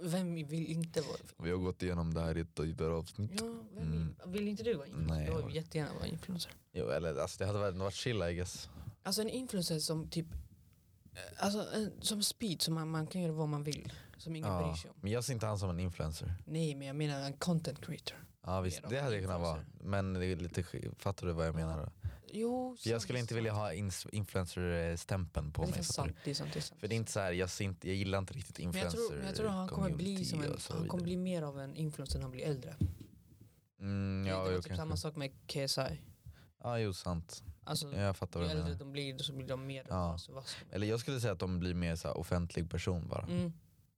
Speaker 2: Vem vill inte vara
Speaker 1: Vi har gått igenom det här i ett tidigare avsnitt.
Speaker 2: Ja, vem
Speaker 1: Mm.
Speaker 2: vill inte du vara influencer?
Speaker 1: Nej,
Speaker 2: jag
Speaker 1: jag
Speaker 2: vill
Speaker 1: vet.
Speaker 2: jättegärna vara influencer.
Speaker 1: Jo, eller alltså, det hade varit, varit chill I guess.
Speaker 2: Alltså en influencer som typ, eh, alltså en, som speed som man, man kan göra vad man vill. Som ingen bryr
Speaker 1: Ja.
Speaker 2: sig om.
Speaker 1: Men jag ser inte han som en influencer.
Speaker 2: Nej men jag menar en content creator.
Speaker 1: Ja visst,
Speaker 2: Mer av
Speaker 1: det hade jag kunnat vara.
Speaker 2: influencer.
Speaker 1: Men det är lite, sk- fattar du vad jag menar? Då?
Speaker 2: Jo,
Speaker 1: För jag skulle inte vilja ha ins- influencer-stämpeln på
Speaker 2: på mig. Det
Speaker 1: mig.
Speaker 2: är
Speaker 1: fattar du?
Speaker 2: sant, det är sant. Det är sant.
Speaker 1: För det är inte så här, jag, ser inte, jag gillar inte riktigt
Speaker 2: men jag
Speaker 1: influencer
Speaker 2: tror, men jag tror han kommer bli
Speaker 1: community
Speaker 2: som en,
Speaker 1: och så
Speaker 2: han kommer bli
Speaker 1: vidare.
Speaker 2: mer av en influencer när han blir äldre.
Speaker 1: Mm, ja,
Speaker 2: det var
Speaker 1: jo,
Speaker 2: typ
Speaker 1: kanske.
Speaker 2: samma sak med KSI.
Speaker 1: Ja, jo sant.
Speaker 2: Alltså,
Speaker 1: Jag fattar
Speaker 2: ju
Speaker 1: vad du
Speaker 2: äldre
Speaker 1: menar.
Speaker 2: de blir, så blir de mer
Speaker 1: Ja.
Speaker 2: alltså, vass.
Speaker 1: Eller jag skulle säga att de blir mer så här offentlig person bara.
Speaker 2: Mm.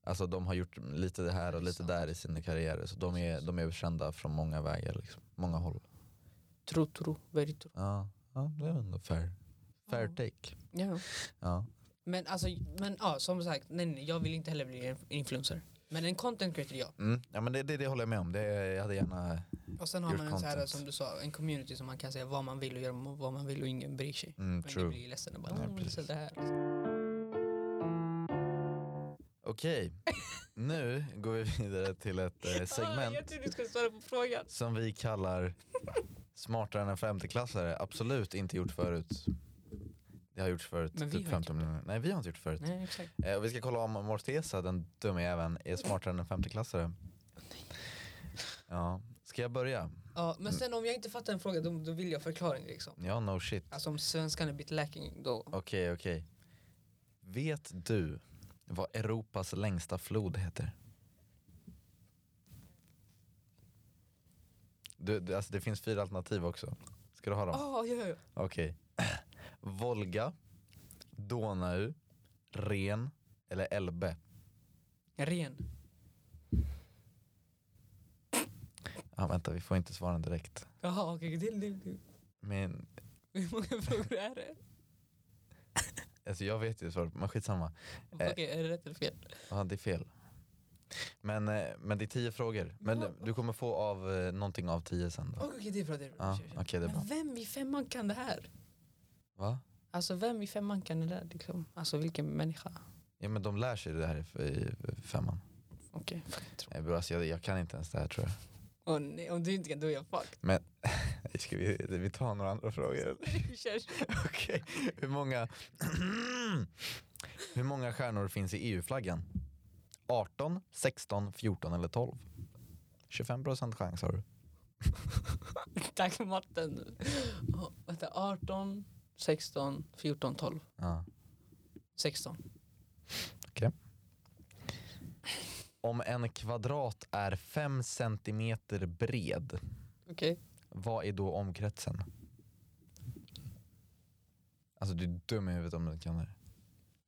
Speaker 1: Alltså de har gjort lite det här och lite
Speaker 2: Sant.
Speaker 1: där i sina karriärer. Så de är, de är kända från många vägar, liksom. många håll.
Speaker 2: Tro, tro, väldigt tro.
Speaker 1: Ja, ja det är ändå fair. Fair
Speaker 2: Ja.
Speaker 1: take.
Speaker 2: Ja.
Speaker 1: Ja.
Speaker 2: Men alltså, men, ja, som sagt, nej, nej, jag vill inte heller bli en influencer. Men en content creator, ja.
Speaker 1: Mm. ja men det, det, det håller jag med om. Det, jag hade gärna...
Speaker 2: Och sen har
Speaker 1: Gjort
Speaker 2: man en, så här,
Speaker 1: content.
Speaker 2: som du sa, en community som man kan säga vad man vill och göra vad man vill och ingen bryr sig.
Speaker 1: Mm,
Speaker 2: Men True.
Speaker 1: true.
Speaker 2: blir ledsen och bara,
Speaker 1: Nej,
Speaker 2: "Åh,
Speaker 1: precis.
Speaker 2: så det här. (laughs)
Speaker 1: Okej, nu går vi vidare till ett eh, segment
Speaker 2: Ah, jag trodde du skulle svara på frågan.
Speaker 1: som vi kallar Smartare än en femteklassare. Absolut inte gjort förut. Det har gjorts förut.
Speaker 2: Men vi har inte
Speaker 1: 15 miljoner. Nej, vi har inte gjort förut.
Speaker 2: Nej, exakt.
Speaker 1: Eh, och vi ska kolla om Mortesa, den dumme jäveln, är smartare än en femteklassare. Ja, ska jag börja?
Speaker 2: Ja, men sen om jag inte fattar en fråga, då, då vill jag förklaring liksom.
Speaker 1: Ja, no shit.
Speaker 2: Alltså om svenskan är bit lacking då.
Speaker 1: Okej, okej. Vet du vad Europas längsta flod heter? Du, du, alltså det finns fyra alternativ också. Ska du ha dem?
Speaker 2: Ah, ja, ja, ja.
Speaker 1: Okej. (clears throat) Volga, Donau, Ren eller Elbe?
Speaker 2: Ren.
Speaker 1: Ja, vänta, vi får inte svaren direkt.
Speaker 2: Jaha, okej. det- det- det-
Speaker 1: Men
Speaker 2: Hur många (laughs) frågor är det?
Speaker 1: alltså jag vet ju svaret, men skitsamma.
Speaker 2: Okej, är det rätt eller fel?
Speaker 1: Eh. Ja, det är fel. Men, eh, men det är tio frågor. Men
Speaker 2: Ja.
Speaker 1: du kommer få av eh, någonting av tio sen då.
Speaker 2: Okej, det är bra. Det är bra.
Speaker 1: Ja,
Speaker 2: Kör, kör.
Speaker 1: okej det är bra.
Speaker 2: Men vem i femman kan det här?
Speaker 1: Va?
Speaker 2: Alltså vem i femman kan det där? Liksom? Alltså vilken människa?
Speaker 1: Ja men de lär sig det här i- i femman.
Speaker 2: Okej.
Speaker 1: Nej, bro, alltså jag, jag kan inte ens det här tror jag.
Speaker 2: Åh nej, om du inte kan då är jag fucked. (laughs)
Speaker 1: Nej, Ska vi, vi tar några andra frågor? (laughs)
Speaker 2: Kör, kör.
Speaker 1: Okej, hur många (clears throat) Hur många stjärnor finns i E EU-flaggan? 18, 16, 14 eller 12? 25% chans har du.
Speaker 2: Tack för matten. Oh, vänta, 18, 16, 14, 12,
Speaker 1: Ja.
Speaker 2: 16.
Speaker 1: Om en kvadrat är 5 centimeter bred,
Speaker 2: Okej.
Speaker 1: vad är då omkretsen? Alltså du är dum i huvudet om du inte kan det här.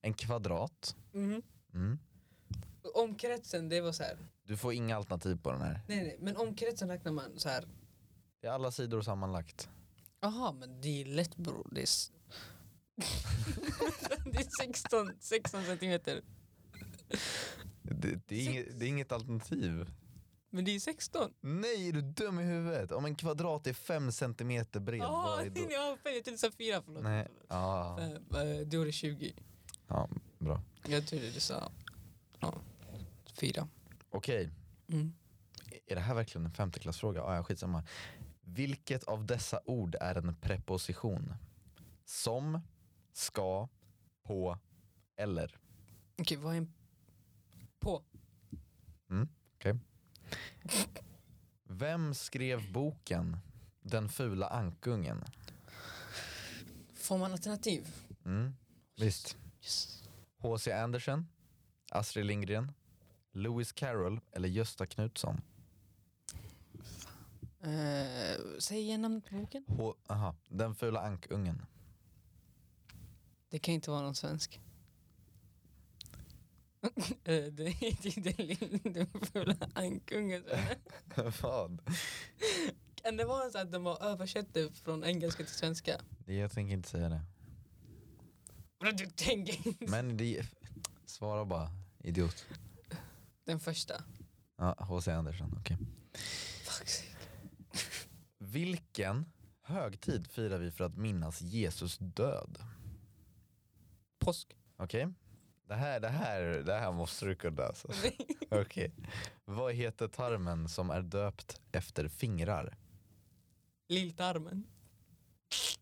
Speaker 1: En kvadrat. Mm.
Speaker 2: Omkretsen, det var så här.
Speaker 1: Du får inga alternativ på den här.
Speaker 2: Nej, nej, men omkretsen räknar man så här.
Speaker 1: Det är alla sidor sammanlagt.
Speaker 2: Jaha, men det är lätt bror. Det är, s- (laughs) det är 16, 16 centimeter.
Speaker 1: Det, det, är
Speaker 2: Sex.
Speaker 1: inget, det är inget alternativ.
Speaker 2: Men det är 16.
Speaker 1: Nej, är du dum i huvudet? Om en kvadrat är fem centimeter bred,
Speaker 2: Jaha,
Speaker 1: vad är
Speaker 2: oh,
Speaker 1: då?
Speaker 2: jag har fel. Jag trodde du sa 4, förlåt.
Speaker 1: Nej, ja,
Speaker 2: Eh, eh, Då är det 20.
Speaker 1: ja, bra.
Speaker 2: Jag trodde du sa ja, fyra. Mm.
Speaker 1: Okej, är det här verkligen en femteklassfråga? Ah, ja, skitsamma. Vilket av dessa ord är en preposition? Som, ska, på, eller?
Speaker 2: Okej, vad är en på?
Speaker 1: Vem skrev boken Den fula ankungen?
Speaker 2: Får man alternativ?
Speaker 1: Mm, visst.
Speaker 2: Yes.
Speaker 1: H.C. Andersen, Astrid Lindgren, Lewis Carroll eller Gösta Knutsson?
Speaker 2: Eh, säg igen namnet på boken.
Speaker 1: H- aha, den fula ankungen.
Speaker 2: Det kan inte vara någon svensk. (laughs) Eh, det är inte den lilla- den fula ankungen.
Speaker 1: (laughs) Vad?
Speaker 2: Kan det vara så att de har översatt det från engelska till svenska?
Speaker 1: Jag tänker inte säga (laughs) det.
Speaker 2: Vadå, Du tänker inte-
Speaker 1: Men det... Svara bara, idiot.
Speaker 2: Den första.
Speaker 1: Ja, H.C. Andersen, okej.
Speaker 2: Fuck sake.
Speaker 1: Vilken högtid firar vi för att minnas Jesus död?
Speaker 2: Påsk.
Speaker 1: Okej? Det, här, det, här, det här måste du kunna. Alltså. Okej. Vad heter tarmen som är döpt efter fingrar?
Speaker 2: Lilltarmen.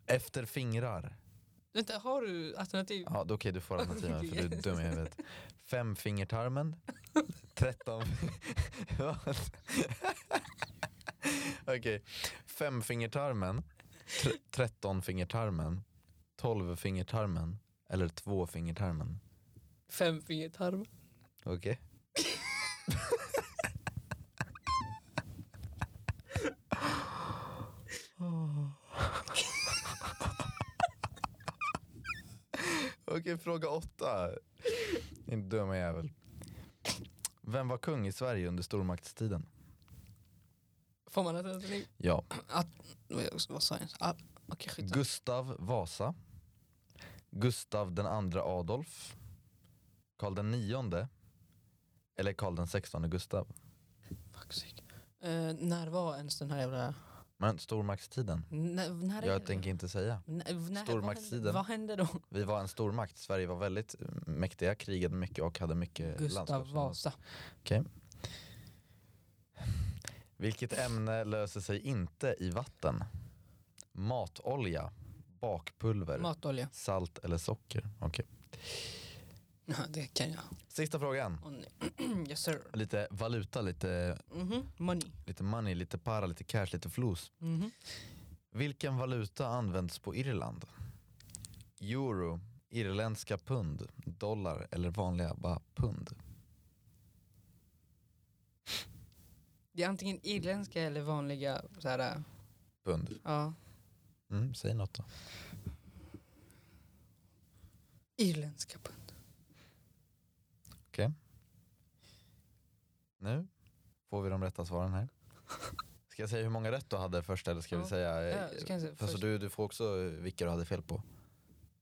Speaker 1: Efter fingrar.
Speaker 2: Vänta, har du alternativ?
Speaker 1: Ja, då okej du får alternativen för du är dum i huvudet. Femfingertarmen, 13... Vad? Okej, femfingertarmen, Tre- 13 fingertarmen, 12 fingertarmen eller två fingertarmen.
Speaker 2: Femfingertarm.
Speaker 1: Okej.
Speaker 2: Ah.
Speaker 1: Okej, fråga åtta. Din dumma jävel. Vem var kung i Sverige under stormaktstiden?
Speaker 2: Får man att äta det?
Speaker 1: Ja,
Speaker 2: Vad- Vad sa jag? ens? Ah, Okej, skitsamma.
Speaker 1: Gustav Vasa, Gustav den andra Adolf, Karl den nionde eller Karl den sextonde Gustav.
Speaker 2: Fuck, sick. Eh, när var ens den här jävla...
Speaker 1: Men stormaktstiden?
Speaker 2: När, när är
Speaker 1: Jag
Speaker 2: det?
Speaker 1: tänker inte säga.
Speaker 2: När- när-
Speaker 1: Stormaktstiden.
Speaker 2: Vad hände då?
Speaker 1: Vi var en stormakt, Sverige var väldigt mäktiga, krigade mycket och hade mycket
Speaker 2: Gustav
Speaker 1: landskapsområden.
Speaker 2: Vasa.
Speaker 1: Vilket ämne löser sig inte i vatten? Matolja, bakpulver,
Speaker 2: Matolja. (laughs)
Speaker 1: salt eller socker? Okej.
Speaker 2: Ja, det kan jag.
Speaker 1: Sista frågan.
Speaker 2: Åh, nej. (clears throat) yes sir.
Speaker 1: Lite valuta, lite,
Speaker 2: Mhm. Money.
Speaker 1: lite money, lite para, lite cash, lite flos.
Speaker 2: Mhm.
Speaker 1: Vilken valuta används på Irland? Euro, irländska pund, dollar eller vanliga bara pund?
Speaker 2: Det är antingen irländska eller vanliga så här,
Speaker 1: Pund.
Speaker 2: ja.
Speaker 1: Mm, säg något då.
Speaker 2: Irländska pund.
Speaker 1: Nu får vi de rätta svaren här. Ska jag säga hur många rätt du hade först eller ska vi
Speaker 2: Ja.
Speaker 1: säga?
Speaker 2: (laughs) Ja, så kan jag säga
Speaker 1: För så
Speaker 2: först.
Speaker 1: Eh, du, du får också eh, vilka du hade fel på.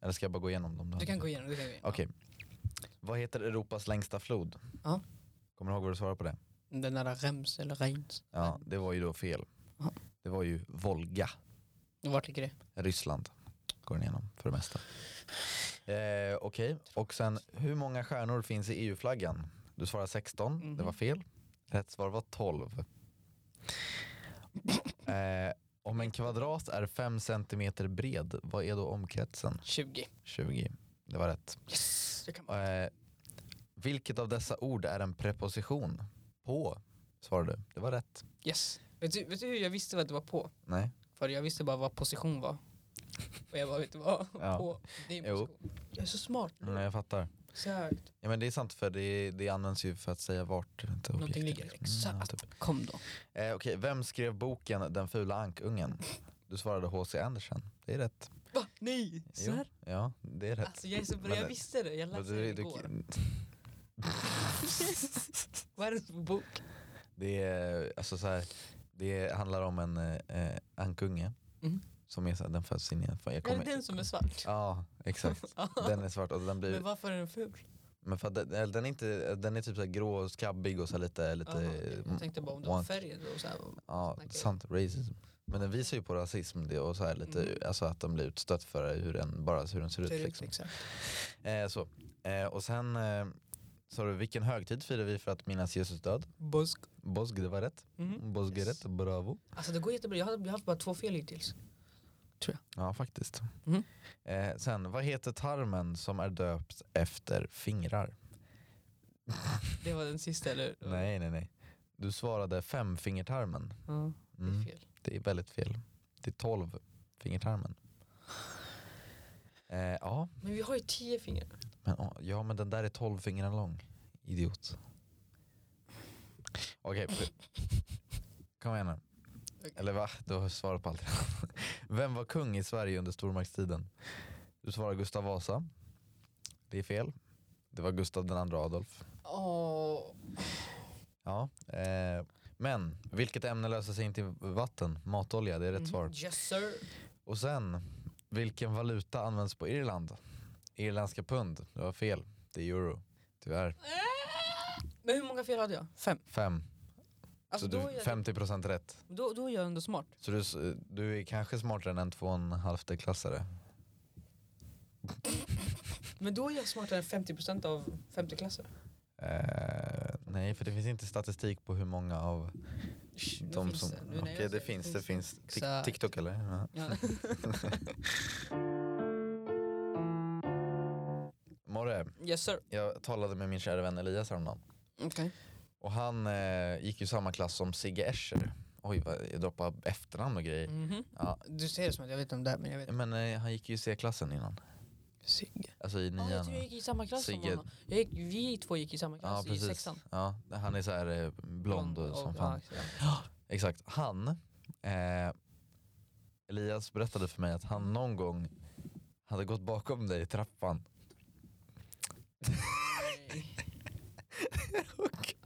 Speaker 1: Eller ska jag bara gå igenom dem?
Speaker 2: Du
Speaker 1: hade
Speaker 2: kan gå
Speaker 1: fel?
Speaker 2: igenom. Du kan gå igenom.
Speaker 1: Okej. Vad heter Europas längsta flod?
Speaker 2: Ja.
Speaker 1: Kommer du ihåg vad du svarade på det?
Speaker 2: Den där Rems eller Reins.
Speaker 1: Ja, det var ju då fel.
Speaker 2: Ja.
Speaker 1: Det var ju Volga.
Speaker 2: Vart ligger
Speaker 1: (laughs)
Speaker 2: det?
Speaker 1: Ryssland går den igenom för det mesta. Eh, Okej, och sen hur många stjärnor finns i EU-flaggan? Du svarade 16, det var
Speaker 2: Mhm.
Speaker 1: fel. Rätt svar var 12. Eh, om en kvadrat är 5 centimeter bred, vad är då omkretsen?
Speaker 2: 20.
Speaker 1: 20. Det var rätt.
Speaker 2: Yes! Jag kan bara.
Speaker 1: Eh, vilket av dessa ord är en preposition? På, svarade du. Det var rätt.
Speaker 2: Yes. Vet, du, vet du hur jag visste vad det var på?
Speaker 1: Nej.
Speaker 2: För jag visste bara vad
Speaker 1: (laughs)
Speaker 2: position var. Och jag bara, vet du vad?
Speaker 1: Ja.
Speaker 2: På. Det är
Speaker 1: Jo.
Speaker 2: position. Jag är så smart.
Speaker 1: Nej, jag fattar.
Speaker 2: Exakt.
Speaker 1: Ja men det är sant för det, det används ju för att säga vart inte
Speaker 2: Någonting
Speaker 1: objektet
Speaker 2: ligger.
Speaker 1: liksom. Mm, ja,
Speaker 2: Exakt.
Speaker 1: typ.
Speaker 2: Kom då.
Speaker 1: eh, Okej, vem skrev boken Den fula ankungen? Du svarade H.C. Andersen. Det är rätt.
Speaker 2: Va? Nej! Så
Speaker 1: Jo.
Speaker 2: här?
Speaker 1: Ja, det är rätt.
Speaker 2: Alltså jag är så bra,
Speaker 1: Men
Speaker 2: jag
Speaker 1: det-
Speaker 2: visste det. Jag
Speaker 1: Men
Speaker 2: läste
Speaker 1: du-
Speaker 2: det
Speaker 1: du-
Speaker 2: igår. Vad är det för bok?
Speaker 1: det är alltså så här, det handlar om en eh, eh, ankunge
Speaker 2: Mm.
Speaker 1: som är så här, den föds in i en... fan, Jag
Speaker 2: Är det
Speaker 1: kommer,
Speaker 2: den som är svart?
Speaker 1: ja,
Speaker 2: (laughs)
Speaker 1: exakt. Den är svart och den blir...
Speaker 2: Men varför är den ful?
Speaker 1: Men för att den, eller den, är inte, den är typ så här grå och skabbig och så här lite... lite
Speaker 2: Jaha, okej. jag tänkte bara om det var
Speaker 1: wonky.
Speaker 2: färgen då. Så här.
Speaker 1: Ja,
Speaker 2: Snackar ju.
Speaker 1: sant. Racism. Men den visar ju på rasism det och så här lite,
Speaker 2: Mm.
Speaker 1: alltså att de blir utstött för hur den, bara hur den ser ut.
Speaker 2: Ser ut,
Speaker 1: Liksom.
Speaker 2: exakt.
Speaker 1: Eh, så. Eh, och sen eh, sa du, vilken högtid firar vi för att minnas Jesus död?
Speaker 2: Busk.
Speaker 1: Bosk, det var rätt.
Speaker 2: Mm.
Speaker 1: Bosk är
Speaker 2: Yes.
Speaker 1: rätt, bravo.
Speaker 2: Alltså det går jättebra, jag har, jag har haft bara två fel hittills.
Speaker 1: Ja, faktiskt.
Speaker 2: Mhm.
Speaker 1: Eh, sen, vad heter tarmen som är döpt efter fingrar?
Speaker 2: Det var den sista eller?
Speaker 1: Nej, nej, nej. Du svarade femfingertarmen.
Speaker 2: Ja, det
Speaker 1: Mm.
Speaker 2: är fel.
Speaker 1: Det är väldigt fel. Det är tolv fingertarmen. Eh, ja,
Speaker 2: Men vi har ju tio fingrar.
Speaker 1: men, åh, ja, men den där är tolv fingrar lång. Idiot. Okej. p- Kom igen nu. Eller va? Du har svarat på allt. (laughs) Vem var kung i Sverige under stormaktstiden? Du svarar Gustav Vasa. Det är fel. Det var Gustav den andra Adolf.
Speaker 2: Åh,
Speaker 1: Ja. Eh, men vilket ämne löser sig inte i vatten? Matolja, det är rätt
Speaker 2: Mhm.
Speaker 1: svar.
Speaker 2: Yes sir.
Speaker 1: Och sen, vilken valuta används på Irland? Irländska pund, det var fel. Det är euro. Tyvärr.
Speaker 2: Men hur många fel hade jag? Fem.
Speaker 1: Fem.
Speaker 2: Alltså
Speaker 1: så
Speaker 2: då, är
Speaker 1: du,
Speaker 2: jag,
Speaker 1: 50% rätt.
Speaker 2: då, då är jag ändå smart.
Speaker 1: Så du, s- du är kanske smartare än en två och en halv klassare.
Speaker 2: Men då är jag smartare än 50% av femteklassare.
Speaker 1: Eh, nej, för det finns inte statistik på hur många av
Speaker 2: Shh, nu
Speaker 1: de
Speaker 2: finns
Speaker 1: som...
Speaker 2: Nu när
Speaker 1: Okej,
Speaker 2: jag säger
Speaker 1: det finns, det finns. Tik-
Speaker 2: Exakt.
Speaker 1: TikTok eller? Ja.
Speaker 2: Ja. (laughs)
Speaker 1: Morre,
Speaker 2: Yes sir.
Speaker 1: jag talade med min kära vän Elias häromdagen.
Speaker 2: Okej.
Speaker 1: Och han eh, gick ju samma klass som Sigge Escher. Oj, vad, jag droppar efternamn och grejer.
Speaker 2: Mhm.
Speaker 1: Ja.
Speaker 2: Du ser det som att jag vet om det här, men jag vet inte.
Speaker 1: Men eh, han gick ju i C-klassen innan.
Speaker 2: Sigge.
Speaker 1: Alltså i
Speaker 2: Ja, jag
Speaker 1: nian.
Speaker 2: tror jag gick i samma klass som
Speaker 1: Sigge.
Speaker 2: honom. Jag gick, vi två gick i samma klass, i sexan.
Speaker 1: Ja, han är så här eh, blond och som fan.
Speaker 2: (laughs) ja, ja.
Speaker 1: Exakt. Han, eh, Elias berättade för mig att han någon gång hade gått bakom dig i trappan.
Speaker 2: Nej.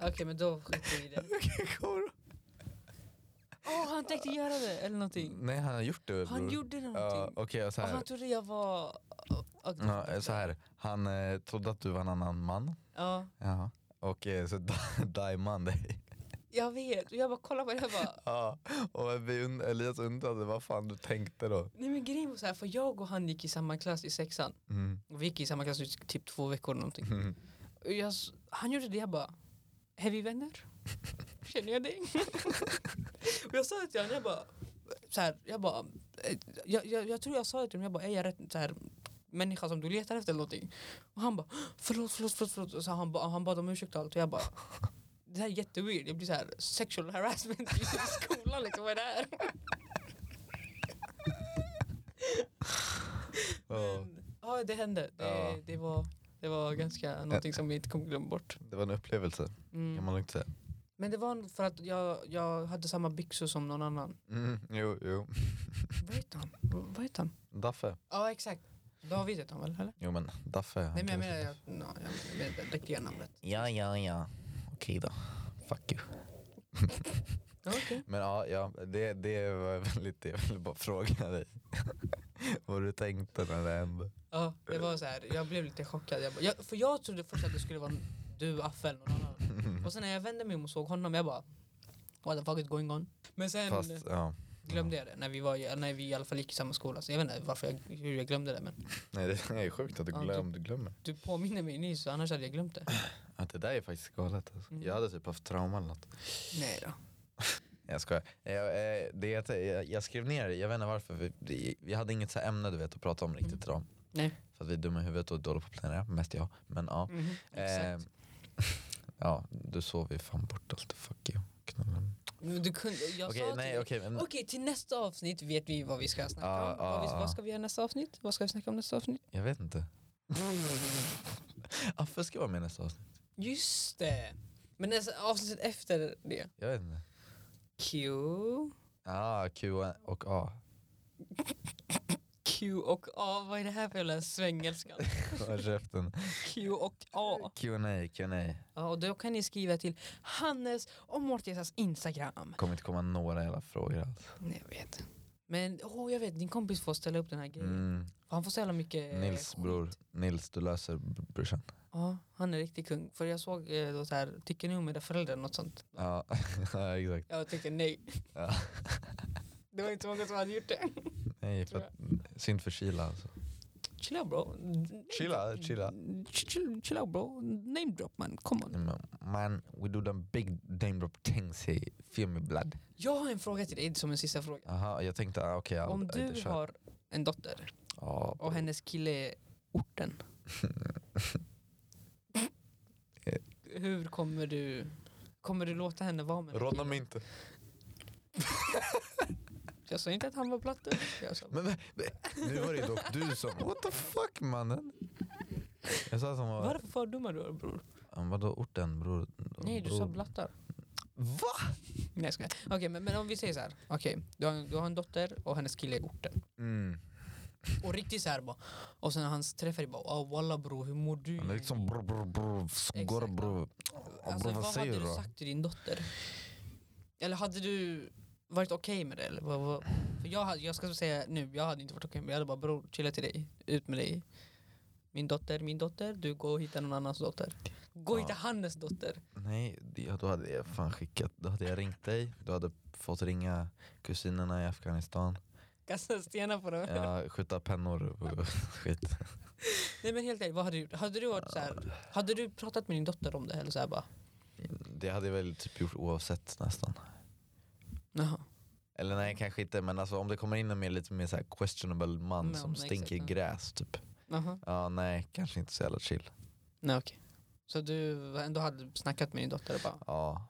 Speaker 2: Okej men då skiter vi (laughs) i det. Åh han tänkte göra det eller någonting.
Speaker 1: Nej han har gjort det
Speaker 2: Han
Speaker 1: bror.
Speaker 2: gjorde
Speaker 1: Mm. Ja,
Speaker 2: någonting.
Speaker 1: okej och så
Speaker 2: Och
Speaker 1: här.
Speaker 2: han trodde jag var...
Speaker 1: Ja, eh, så här. Han eh, trodde att du var en annan man.
Speaker 2: Ja,
Speaker 1: Jaha. Och eh, så (laughs) dajmade man dig.
Speaker 2: jag vet. Och jag bara kollade på det jag bara...
Speaker 1: Ja. Och vi und- Elias undrade vad fan du tänkte då.
Speaker 2: Nej men grejen var så här, för jag och han gick i samma klass i sexan.
Speaker 1: Mm.
Speaker 2: Och vi gick i samma klass i typ två veckor eller någonting.
Speaker 1: Mm.
Speaker 2: Och jag, s- han gjorde det, jag bara, är
Speaker 1: (laughs)
Speaker 2: vi vänner? Känner jag dig? (laughs) och jag sa det till honom, jag bara, så här, jag bara, eh, jag, jag, jag tror jag sa det till honom, jag bara, är jag rätt så här, människa som du letar efter eller någonting? Och han bara, förlåt, förlåt, förlåt, förlåt. Och så han, ba, han bad om ursäkt och allt och jag bara, det här är jätteweird, jag blir så här sexual harassment i skolan liksom, vad är det här?
Speaker 1: Ja.
Speaker 2: Men, ja, det hände. Det,
Speaker 1: Ja. Eh.
Speaker 2: det, var, det var ganska någonting som vi inte kommer glömma bort.
Speaker 1: Det var en upplevelse
Speaker 2: Mm.
Speaker 1: kan man lugnt säga.
Speaker 2: Men det var för att jag, jag hade samma byxor som någon annan.
Speaker 1: Mm. Jo, jo.
Speaker 2: Vad heter han? Vad heter han?
Speaker 1: Daffe.
Speaker 2: Ja exakt. David heter han väl eller?
Speaker 1: Jo men Daffe. han
Speaker 2: Nej men jag
Speaker 1: kan-
Speaker 2: menar, jag, no, jag menar det riktiga namnet.
Speaker 1: Ja, ja, ja. Okej då. Fuck you.
Speaker 2: Okej.
Speaker 1: Men ja, ja det, det var (laughs) väldigt det. Jag ville bara fråga dig. (laughs) Vad du tänkte när det hände.
Speaker 2: Ja det var så här. jag blev lite chockad. Jag, bara- jag, för jag trodde först att det skulle vara du, Affe eller någon
Speaker 1: (laughs)
Speaker 2: annan. Och sen när jag vände mig om och såg honom, jag bara What the fuck is going on? Men sen
Speaker 1: Fast, ja.
Speaker 2: glömde jag det när vi, var, i- när vi i alla fall gick i samma skola. Så jag vet inte varför jag, hur jag glömde det men
Speaker 1: Nej, det är sjukt att du,
Speaker 2: Ja,
Speaker 1: glöm, du glömmer.
Speaker 2: du påminner mig nyss annars hade jag glömt det.
Speaker 1: Att det där är faktiskt galet. Alltså.
Speaker 2: Mm.
Speaker 1: Jag hade typ haft trauma eller något.
Speaker 2: Nej då.
Speaker 1: Jag skojar. Jag, eh, det, är att jag, jag skrev ner det, jag vet inte varför. Vi, det- vi hade inget så här ämne du vet att prata om riktigt idag.
Speaker 2: Mm. Nej.
Speaker 1: För att vi är dumma i huvudet och dåliga på att planera. Mest jag. Men ja.
Speaker 2: Mm-hmm. Exakt.
Speaker 1: Eh, (laughs) ja, du sov ju fan bort allt. Fuck you. Knullen.
Speaker 2: Men Du kunde, jag
Speaker 1: Okej,
Speaker 2: sa till
Speaker 1: nej
Speaker 2: dig-
Speaker 1: okej. men-
Speaker 2: Okej, till nästa avsnitt vet vi vad vi ska snacka
Speaker 1: Ja,
Speaker 2: om. vad, vi,
Speaker 1: ja, ja.
Speaker 2: vad ska vi göra nästa avsnitt? Vad ska vi snacka om nästa (laughs) avsnitt?
Speaker 1: Jag vet inte. Affe ska vara med nästa avsnitt.
Speaker 2: Just det! Men nästa avsnittet efter det.
Speaker 1: Jag vet inte.
Speaker 2: Q,
Speaker 1: Ah, Q och A.
Speaker 2: Q och A. Vad är det här för jävla svängelska?
Speaker 1: Håll käften.
Speaker 2: Q och A.
Speaker 1: Q&A, Q&A.
Speaker 2: Ja, och då kan ni skriva till Hannes och Mortisas Instagram.
Speaker 1: Kommer inte komma några jävla frågor alls.
Speaker 2: Nej, jag vet. Men åh, jag vet, din kompis får ställa upp den här grejen.
Speaker 1: Mm.
Speaker 2: Han får så jävla mycket...
Speaker 1: Nils bror. Nils, du löser b- brorsan.
Speaker 2: Ja, han är riktig kung. För jag såg eh, då så här, tycker ni om era föräldrar? Något sånt.
Speaker 1: Ja, ja (laughs) exakt.
Speaker 2: Jag tycker nej.
Speaker 1: Ja.
Speaker 2: Det var inte många som hade gjort det.
Speaker 1: Nej, för att, synd för Kila alltså.
Speaker 2: Chilla bro.
Speaker 1: Chilla, chilla.
Speaker 2: Chill- Chilla bro. Name drop man, come on.
Speaker 1: Men, Man, we do them big name drop things here. Feel me blood.
Speaker 2: Jag har en fråga till dig som en sista fråga.
Speaker 1: Aha, jag tänkte, ah, okej. ja,
Speaker 2: Om
Speaker 1: jag
Speaker 2: du
Speaker 1: kör.
Speaker 2: har en dotter
Speaker 1: Ja,
Speaker 2: och hennes kille är
Speaker 1: (laughs)
Speaker 2: orten. Hur kommer du, kommer du låta henne vara med den
Speaker 1: Rodna
Speaker 2: killen?
Speaker 1: mig inte.
Speaker 2: Jag sa inte att han var platte. Jag sa,
Speaker 1: Men men, men, nu var det ju dock du som... (laughs) What the fuck mannen? Jag sa som var...
Speaker 2: varför fördomar du har, bror?
Speaker 1: Vadå orten bror?
Speaker 2: Nej du sa blattar.
Speaker 1: Va?
Speaker 2: Nej jag skojar. Okej men, men om vi säger så här. Okej du, har, du har en dotter och hennes kille är orten.
Speaker 1: Mm.
Speaker 2: Och riktigt såhär bara. Och sen när han träffar dig bara oh, walla bro hur mår du?
Speaker 1: Han är liksom bror bror bror, skor
Speaker 2: Exakt.
Speaker 1: bror. Ja,
Speaker 2: alltså,
Speaker 1: bror
Speaker 2: vad
Speaker 1: vad säger
Speaker 2: hade
Speaker 1: du
Speaker 2: du
Speaker 1: då?
Speaker 2: sagt till din dotter? Eller hade du varit okej med det? Eller vad, vad? För jag, hade, jag ska säga nu, jag hade inte varit okej med det. Jag hade bara bror chilla till dig, ut med dig. Min dotter, min dotter, du gå och hitta någon annans dotter. Gå och
Speaker 1: Ja.
Speaker 2: hitta Hannes dotter.
Speaker 1: Nej, det- ja, då hade jag fan skickat. Då hade jag ringt dig. Du hade fått ringa kusinerna i Afghanistan.
Speaker 2: Kasta stenar på dem.
Speaker 1: Ja, skjuta pennor och skit.
Speaker 2: Nej men helt ärligt, vad hade du gjort? Hade du, varit så här, hade du pratat med din dotter om det? Eller så här bara,
Speaker 1: Det hade jag väl typ gjort oavsett nästan.
Speaker 2: jaha.
Speaker 1: Eller nej kanske inte men alltså, om det kommer in en mer, lite mer så här questionable man
Speaker 2: Men,
Speaker 1: som
Speaker 2: exakt,
Speaker 1: stinker
Speaker 2: ja.
Speaker 1: gräs typ.
Speaker 2: Jaha.
Speaker 1: Ja nej kanske inte så jävla chill.
Speaker 2: Nej okej. Så du ändå hade snackat med din dotter och bara
Speaker 1: Ja.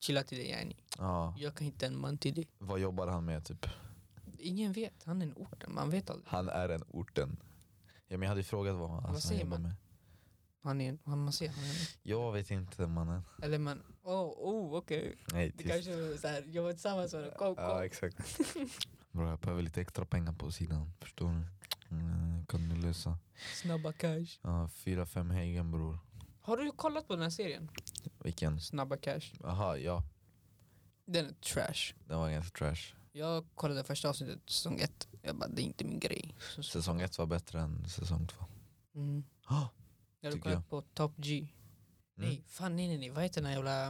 Speaker 2: chilla till dig yani.
Speaker 1: Ja.
Speaker 2: Jag kan hitta en man till dig.
Speaker 1: Vad jobbar han med typ?
Speaker 2: Ingen vet, han är en ort, man vet aldrig.
Speaker 1: Han är en orten. Ja, men jag hade ju frågat vad, alltså, han
Speaker 2: säger
Speaker 1: jobbar
Speaker 2: man?
Speaker 1: med.
Speaker 2: Han är, en- han, man ser, han är en,
Speaker 1: Jag vet inte mannen.
Speaker 2: Eller man, oh, oh okej.
Speaker 1: Nej,
Speaker 2: Det
Speaker 1: tyst.
Speaker 2: kanske är såhär, jobba tillsammans med honom, kom
Speaker 1: Ja,
Speaker 2: kom. (laughs)
Speaker 1: exakt. Bro, jag behöver lite extra pengar på sidan. Förstår ni? Mm, kan du lösa?
Speaker 2: Snabba cash.
Speaker 1: Ja, fyra, fem hägen bror.
Speaker 2: Har du kollat på den här serien?
Speaker 1: Vilken?
Speaker 2: Snabba cash.
Speaker 1: Jaha, ja.
Speaker 2: Den är trash.
Speaker 1: Den var ganska trash.
Speaker 2: Jag kollade första avsnittet, säsong ett. Jag bara, det är inte min grej. Så, så.
Speaker 1: Säsong ett var bättre än säsong två. (gasps) Ah,
Speaker 2: Mm.
Speaker 1: Ja,
Speaker 2: Jag hade
Speaker 1: tycker
Speaker 2: kollat på Top G.
Speaker 1: Mm.
Speaker 2: Nej, fan nej nej nej. Vad heter den här jävla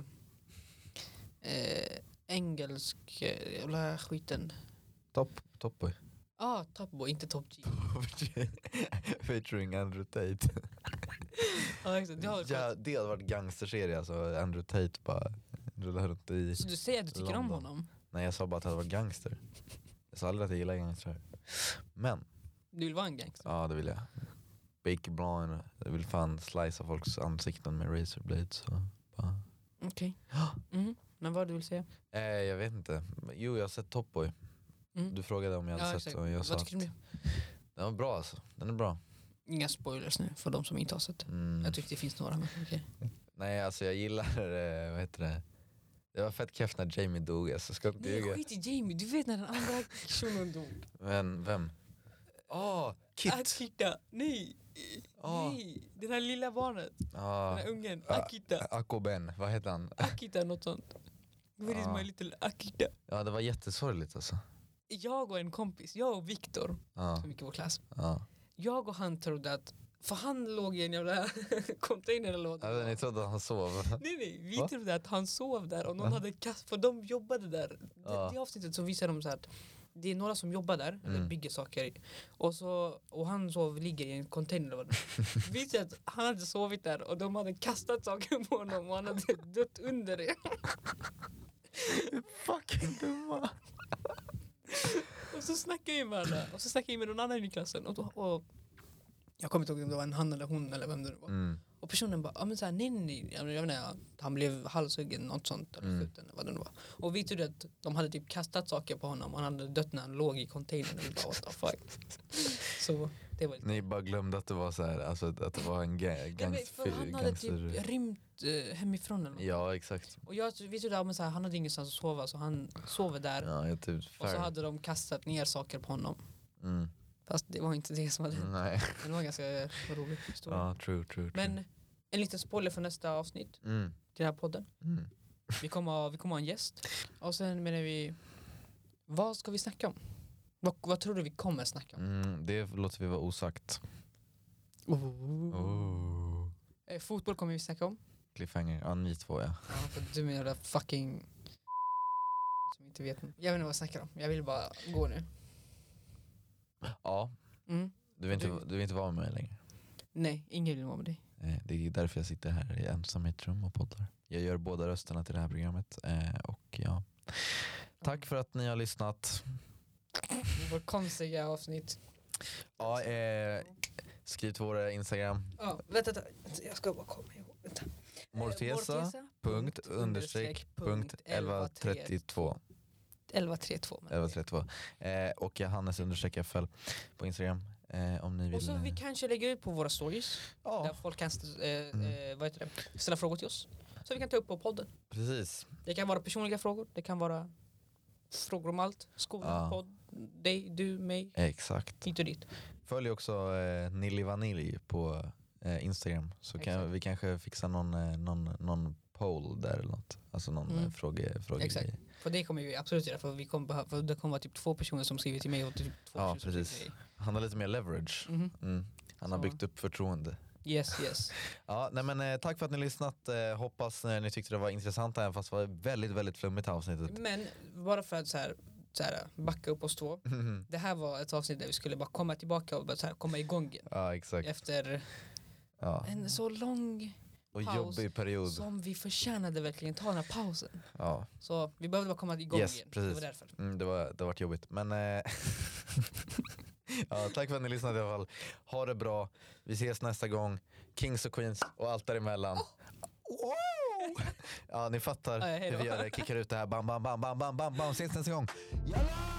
Speaker 2: eh, engelsk eh, jävla skiten?
Speaker 1: Topp, top boy. (laughs)
Speaker 2: Ah, Top Boy, inte Top G.
Speaker 1: Featuring Andrew Tate.
Speaker 2: ah, exakt, det har jag kollat.
Speaker 1: Ja, det hade varit gangsterserie alltså. Andrew Tate bara rullar runt i...
Speaker 2: Så du säger att du tycker om
Speaker 1: London.
Speaker 2: honom?
Speaker 1: Nej jag sa bara att han var gangster. Jag sa aldrig att jag gillar gangstrar. Men,
Speaker 2: Du vill vara en gangster?
Speaker 1: ja det vill jag. Baker Blond, jag vill fan slicea folks ansikten med razorblades. Så. bara-
Speaker 2: Okej. Mhm. Men vad du vill säga?
Speaker 1: (gasps) Eh, jag vet inte. Jo jag har sett Top Boy.
Speaker 2: Mm.
Speaker 1: Du frågade om jag hade sett den och jag sa
Speaker 2: Vad
Speaker 1: att
Speaker 2: tycker du? om
Speaker 1: den var bra alltså. Den är bra.
Speaker 2: det? Inga spoilers nu för de som inte har sett det.
Speaker 1: Mm.
Speaker 2: Jag tyckte det finns några men okej.
Speaker 1: Nej alltså jag gillar, eh, vad heter det? Det var fett keft när Jamie dog, alltså, jag ska inte
Speaker 2: Nej
Speaker 1: ljuga.
Speaker 2: skit i Jamie, du vet när
Speaker 1: (laughs)
Speaker 2: den andra personen dog.
Speaker 1: Men vem?
Speaker 2: Ah,
Speaker 1: Åh, Kit!
Speaker 2: Akita, nej!
Speaker 1: Ah.
Speaker 2: Nej, den här lilla barnet, den
Speaker 1: Ja,
Speaker 2: här ungen,
Speaker 1: Ah.
Speaker 2: Akita.
Speaker 1: Akoben, vad heter han?
Speaker 2: Akita något sånt. Where is
Speaker 1: Ja.
Speaker 2: my little Akita?
Speaker 1: Ja det var jättesorgligt alltså.
Speaker 2: Jag och en kompis, jag och Viktor,
Speaker 1: Ja,
Speaker 2: som gick i vår klass.
Speaker 1: ja.
Speaker 2: Jag och han trodde att, för han låg i en jävla (laughs) container eller vad det
Speaker 1: Alltså,
Speaker 2: var.
Speaker 1: ni trodde att han sov?
Speaker 2: (laughs) Nej nej, vi
Speaker 1: Va?
Speaker 2: trodde att han sov där och någon
Speaker 1: Va?
Speaker 2: hade kast, för de jobbade där.
Speaker 1: Ja.
Speaker 2: Det, det avsnittet så visar de så här att det är några som jobbar där, eller
Speaker 1: Mm.
Speaker 2: bygger saker. Och, så, och han sov, ligger i en container eller vad det
Speaker 1: (laughs)
Speaker 2: var. Visar att han hade sovit där och de hade kastat saker på honom och
Speaker 1: (laughs)
Speaker 2: han hade dött under det.
Speaker 1: Fucking dumma!
Speaker 2: Och så snackade vi med alla, och så snackade vi med någon annan i klassen och, då, och jag kommer inte ihåg om det var en han eller hon eller vem det nu
Speaker 1: (laughs)
Speaker 2: var.
Speaker 1: Mm,
Speaker 2: Och personen bara, ah, men så här, nej nej nej, jag vet inte, han blev halshuggen något sånt eller
Speaker 1: Mm.
Speaker 2: skjuten eller vad det nu var. Och vi trodde att de hade typ kastat saker på honom och han hade dött när han låg i containern. Och vi bara, what
Speaker 1: (laughs)
Speaker 2: the fuck. Så det var lite...
Speaker 1: ni bara glömde att det var så här, alltså att det var en ga-
Speaker 2: Ja, men
Speaker 1: gangs-
Speaker 2: för han hade
Speaker 1: gangster...
Speaker 2: typ rymt eh, hemifrån eller något.
Speaker 1: Ja exakt.
Speaker 2: Och jag, vi trodde att han hade ingenstans att sova så han sover där.
Speaker 1: Ja, jag typ
Speaker 2: och så
Speaker 1: fair.
Speaker 2: hade de kastat ner saker på honom.
Speaker 1: Mm.
Speaker 2: Fast det var inte det som hade hänt. (laughs)
Speaker 1: Nej,
Speaker 2: Men Det var en ganska rolig historia.
Speaker 1: Mm. ja true true. true.
Speaker 2: Men en liten spoiler för nästa avsnitt
Speaker 1: Mm.
Speaker 2: till den här podden.
Speaker 1: Mm.
Speaker 2: Vi kommer ha, vi kommer ha en gäst. Och sen menar vi, vad ska vi snacka om? Vad, vad tror du vi kommer snacka om?
Speaker 1: Mm, det låter vi vara osagt. Mm. Oh.
Speaker 2: Eh, fotboll kommer vi snacka om.
Speaker 1: Cliffhanger, ja ni två ja.
Speaker 2: Ja, för du menar det fucking som inte vet. något. Jag vet inte vad jag snackar om. Jag vill bara gå nu.
Speaker 1: Ja,
Speaker 2: Mm.
Speaker 1: du vill
Speaker 2: Du-
Speaker 1: inte, du vill inte vara med mig längre.
Speaker 2: Nej, ingen vill vara med dig.
Speaker 1: Eh, Det är därför jag sitter här i ensam i ett rum och poddar. Jag gör båda rösterna till det här programmet. eh, Och ja. Tack för att ni har lyssnat.
Speaker 2: Vårt konstiga avsnitt.
Speaker 1: Ja, eh, skriv till våra Instagram.
Speaker 2: Ja, vänta, vänta, jag ska bara komma ihåg. Vänta. Eh,
Speaker 1: Mortesa. Punkt, understreck, punkt, 1132.
Speaker 2: 1132. menar jag.
Speaker 1: 1132. Eh, och Johannes understreck FL på Instagram. Eh, om ni vill.
Speaker 2: Och så
Speaker 1: eh,
Speaker 2: vi kanske lägger ut på våra stories. Där
Speaker 1: ja, Mm.
Speaker 2: folk kan st- eh, eh, vad heter det? ställa frågor till oss. Så vi kan ta upp på podden.
Speaker 1: precis.
Speaker 2: Det kan vara personliga frågor, det kan vara frågor om allt. Skolan,
Speaker 1: Ja.
Speaker 2: podd, dig, du, mig,
Speaker 1: Exakt.
Speaker 2: hit och dit.
Speaker 1: Följ också eh, Nilli Vanilj på eh, Instagram. Så kan,
Speaker 2: Exakt.
Speaker 1: vi kanske fixar någon, eh, någon, någon poll där eller något. Alltså någon
Speaker 2: Mm.
Speaker 1: eh, fråge, fråge
Speaker 2: Exakt. För det kommer vi absolut göra, för, vi kommer behöva, för det kommer vara typ två personer som skriver till mig och typ två
Speaker 1: Ja,
Speaker 2: personer som skriver
Speaker 1: precis.
Speaker 2: till dig.
Speaker 1: Han har lite mer leverage.
Speaker 2: Mhm.
Speaker 1: Mm. Han har
Speaker 2: Så.
Speaker 1: byggt upp förtroende.
Speaker 2: Yes, yes.
Speaker 1: Ja, nej men, eh, tack för att ni har lyssnat. Eh, hoppas eh, ni tyckte det var intressant även fast det var väldigt, väldigt flummigt det här
Speaker 2: (laughs)
Speaker 1: avsnittet.
Speaker 2: Men bara för att så här, så här, backa upp oss två.
Speaker 1: Mhm.
Speaker 2: Det här var ett avsnitt där vi skulle bara komma tillbaka och bara så här, komma igång igen.
Speaker 1: ja, exakt.
Speaker 2: Efter
Speaker 1: Ja.
Speaker 2: en så lång
Speaker 1: Och
Speaker 2: paus
Speaker 1: jobbig period.
Speaker 2: som vi förtjänade verkligen ta den här pausen.
Speaker 1: Ja.
Speaker 2: Så vi behövde bara komma igång
Speaker 1: Yes,
Speaker 2: igen.
Speaker 1: precis.
Speaker 2: Det var därför.
Speaker 1: Mm, det, var, det har varit jobbigt. Men, eh, (laughs) ja, tack för att ni lyssnade i alla fall. Ha det
Speaker 2: Oh.
Speaker 1: bra. Vi ses nästa gång. Kings och Queens och allt däremellan. Wow! Ja, ni fattar
Speaker 2: Ja, hej
Speaker 1: hur
Speaker 2: då.
Speaker 1: vi gör det. Kickar ut det här. Bam, bam, bam, bam, bam, bam, bam. Ses nästa gång. Jalla!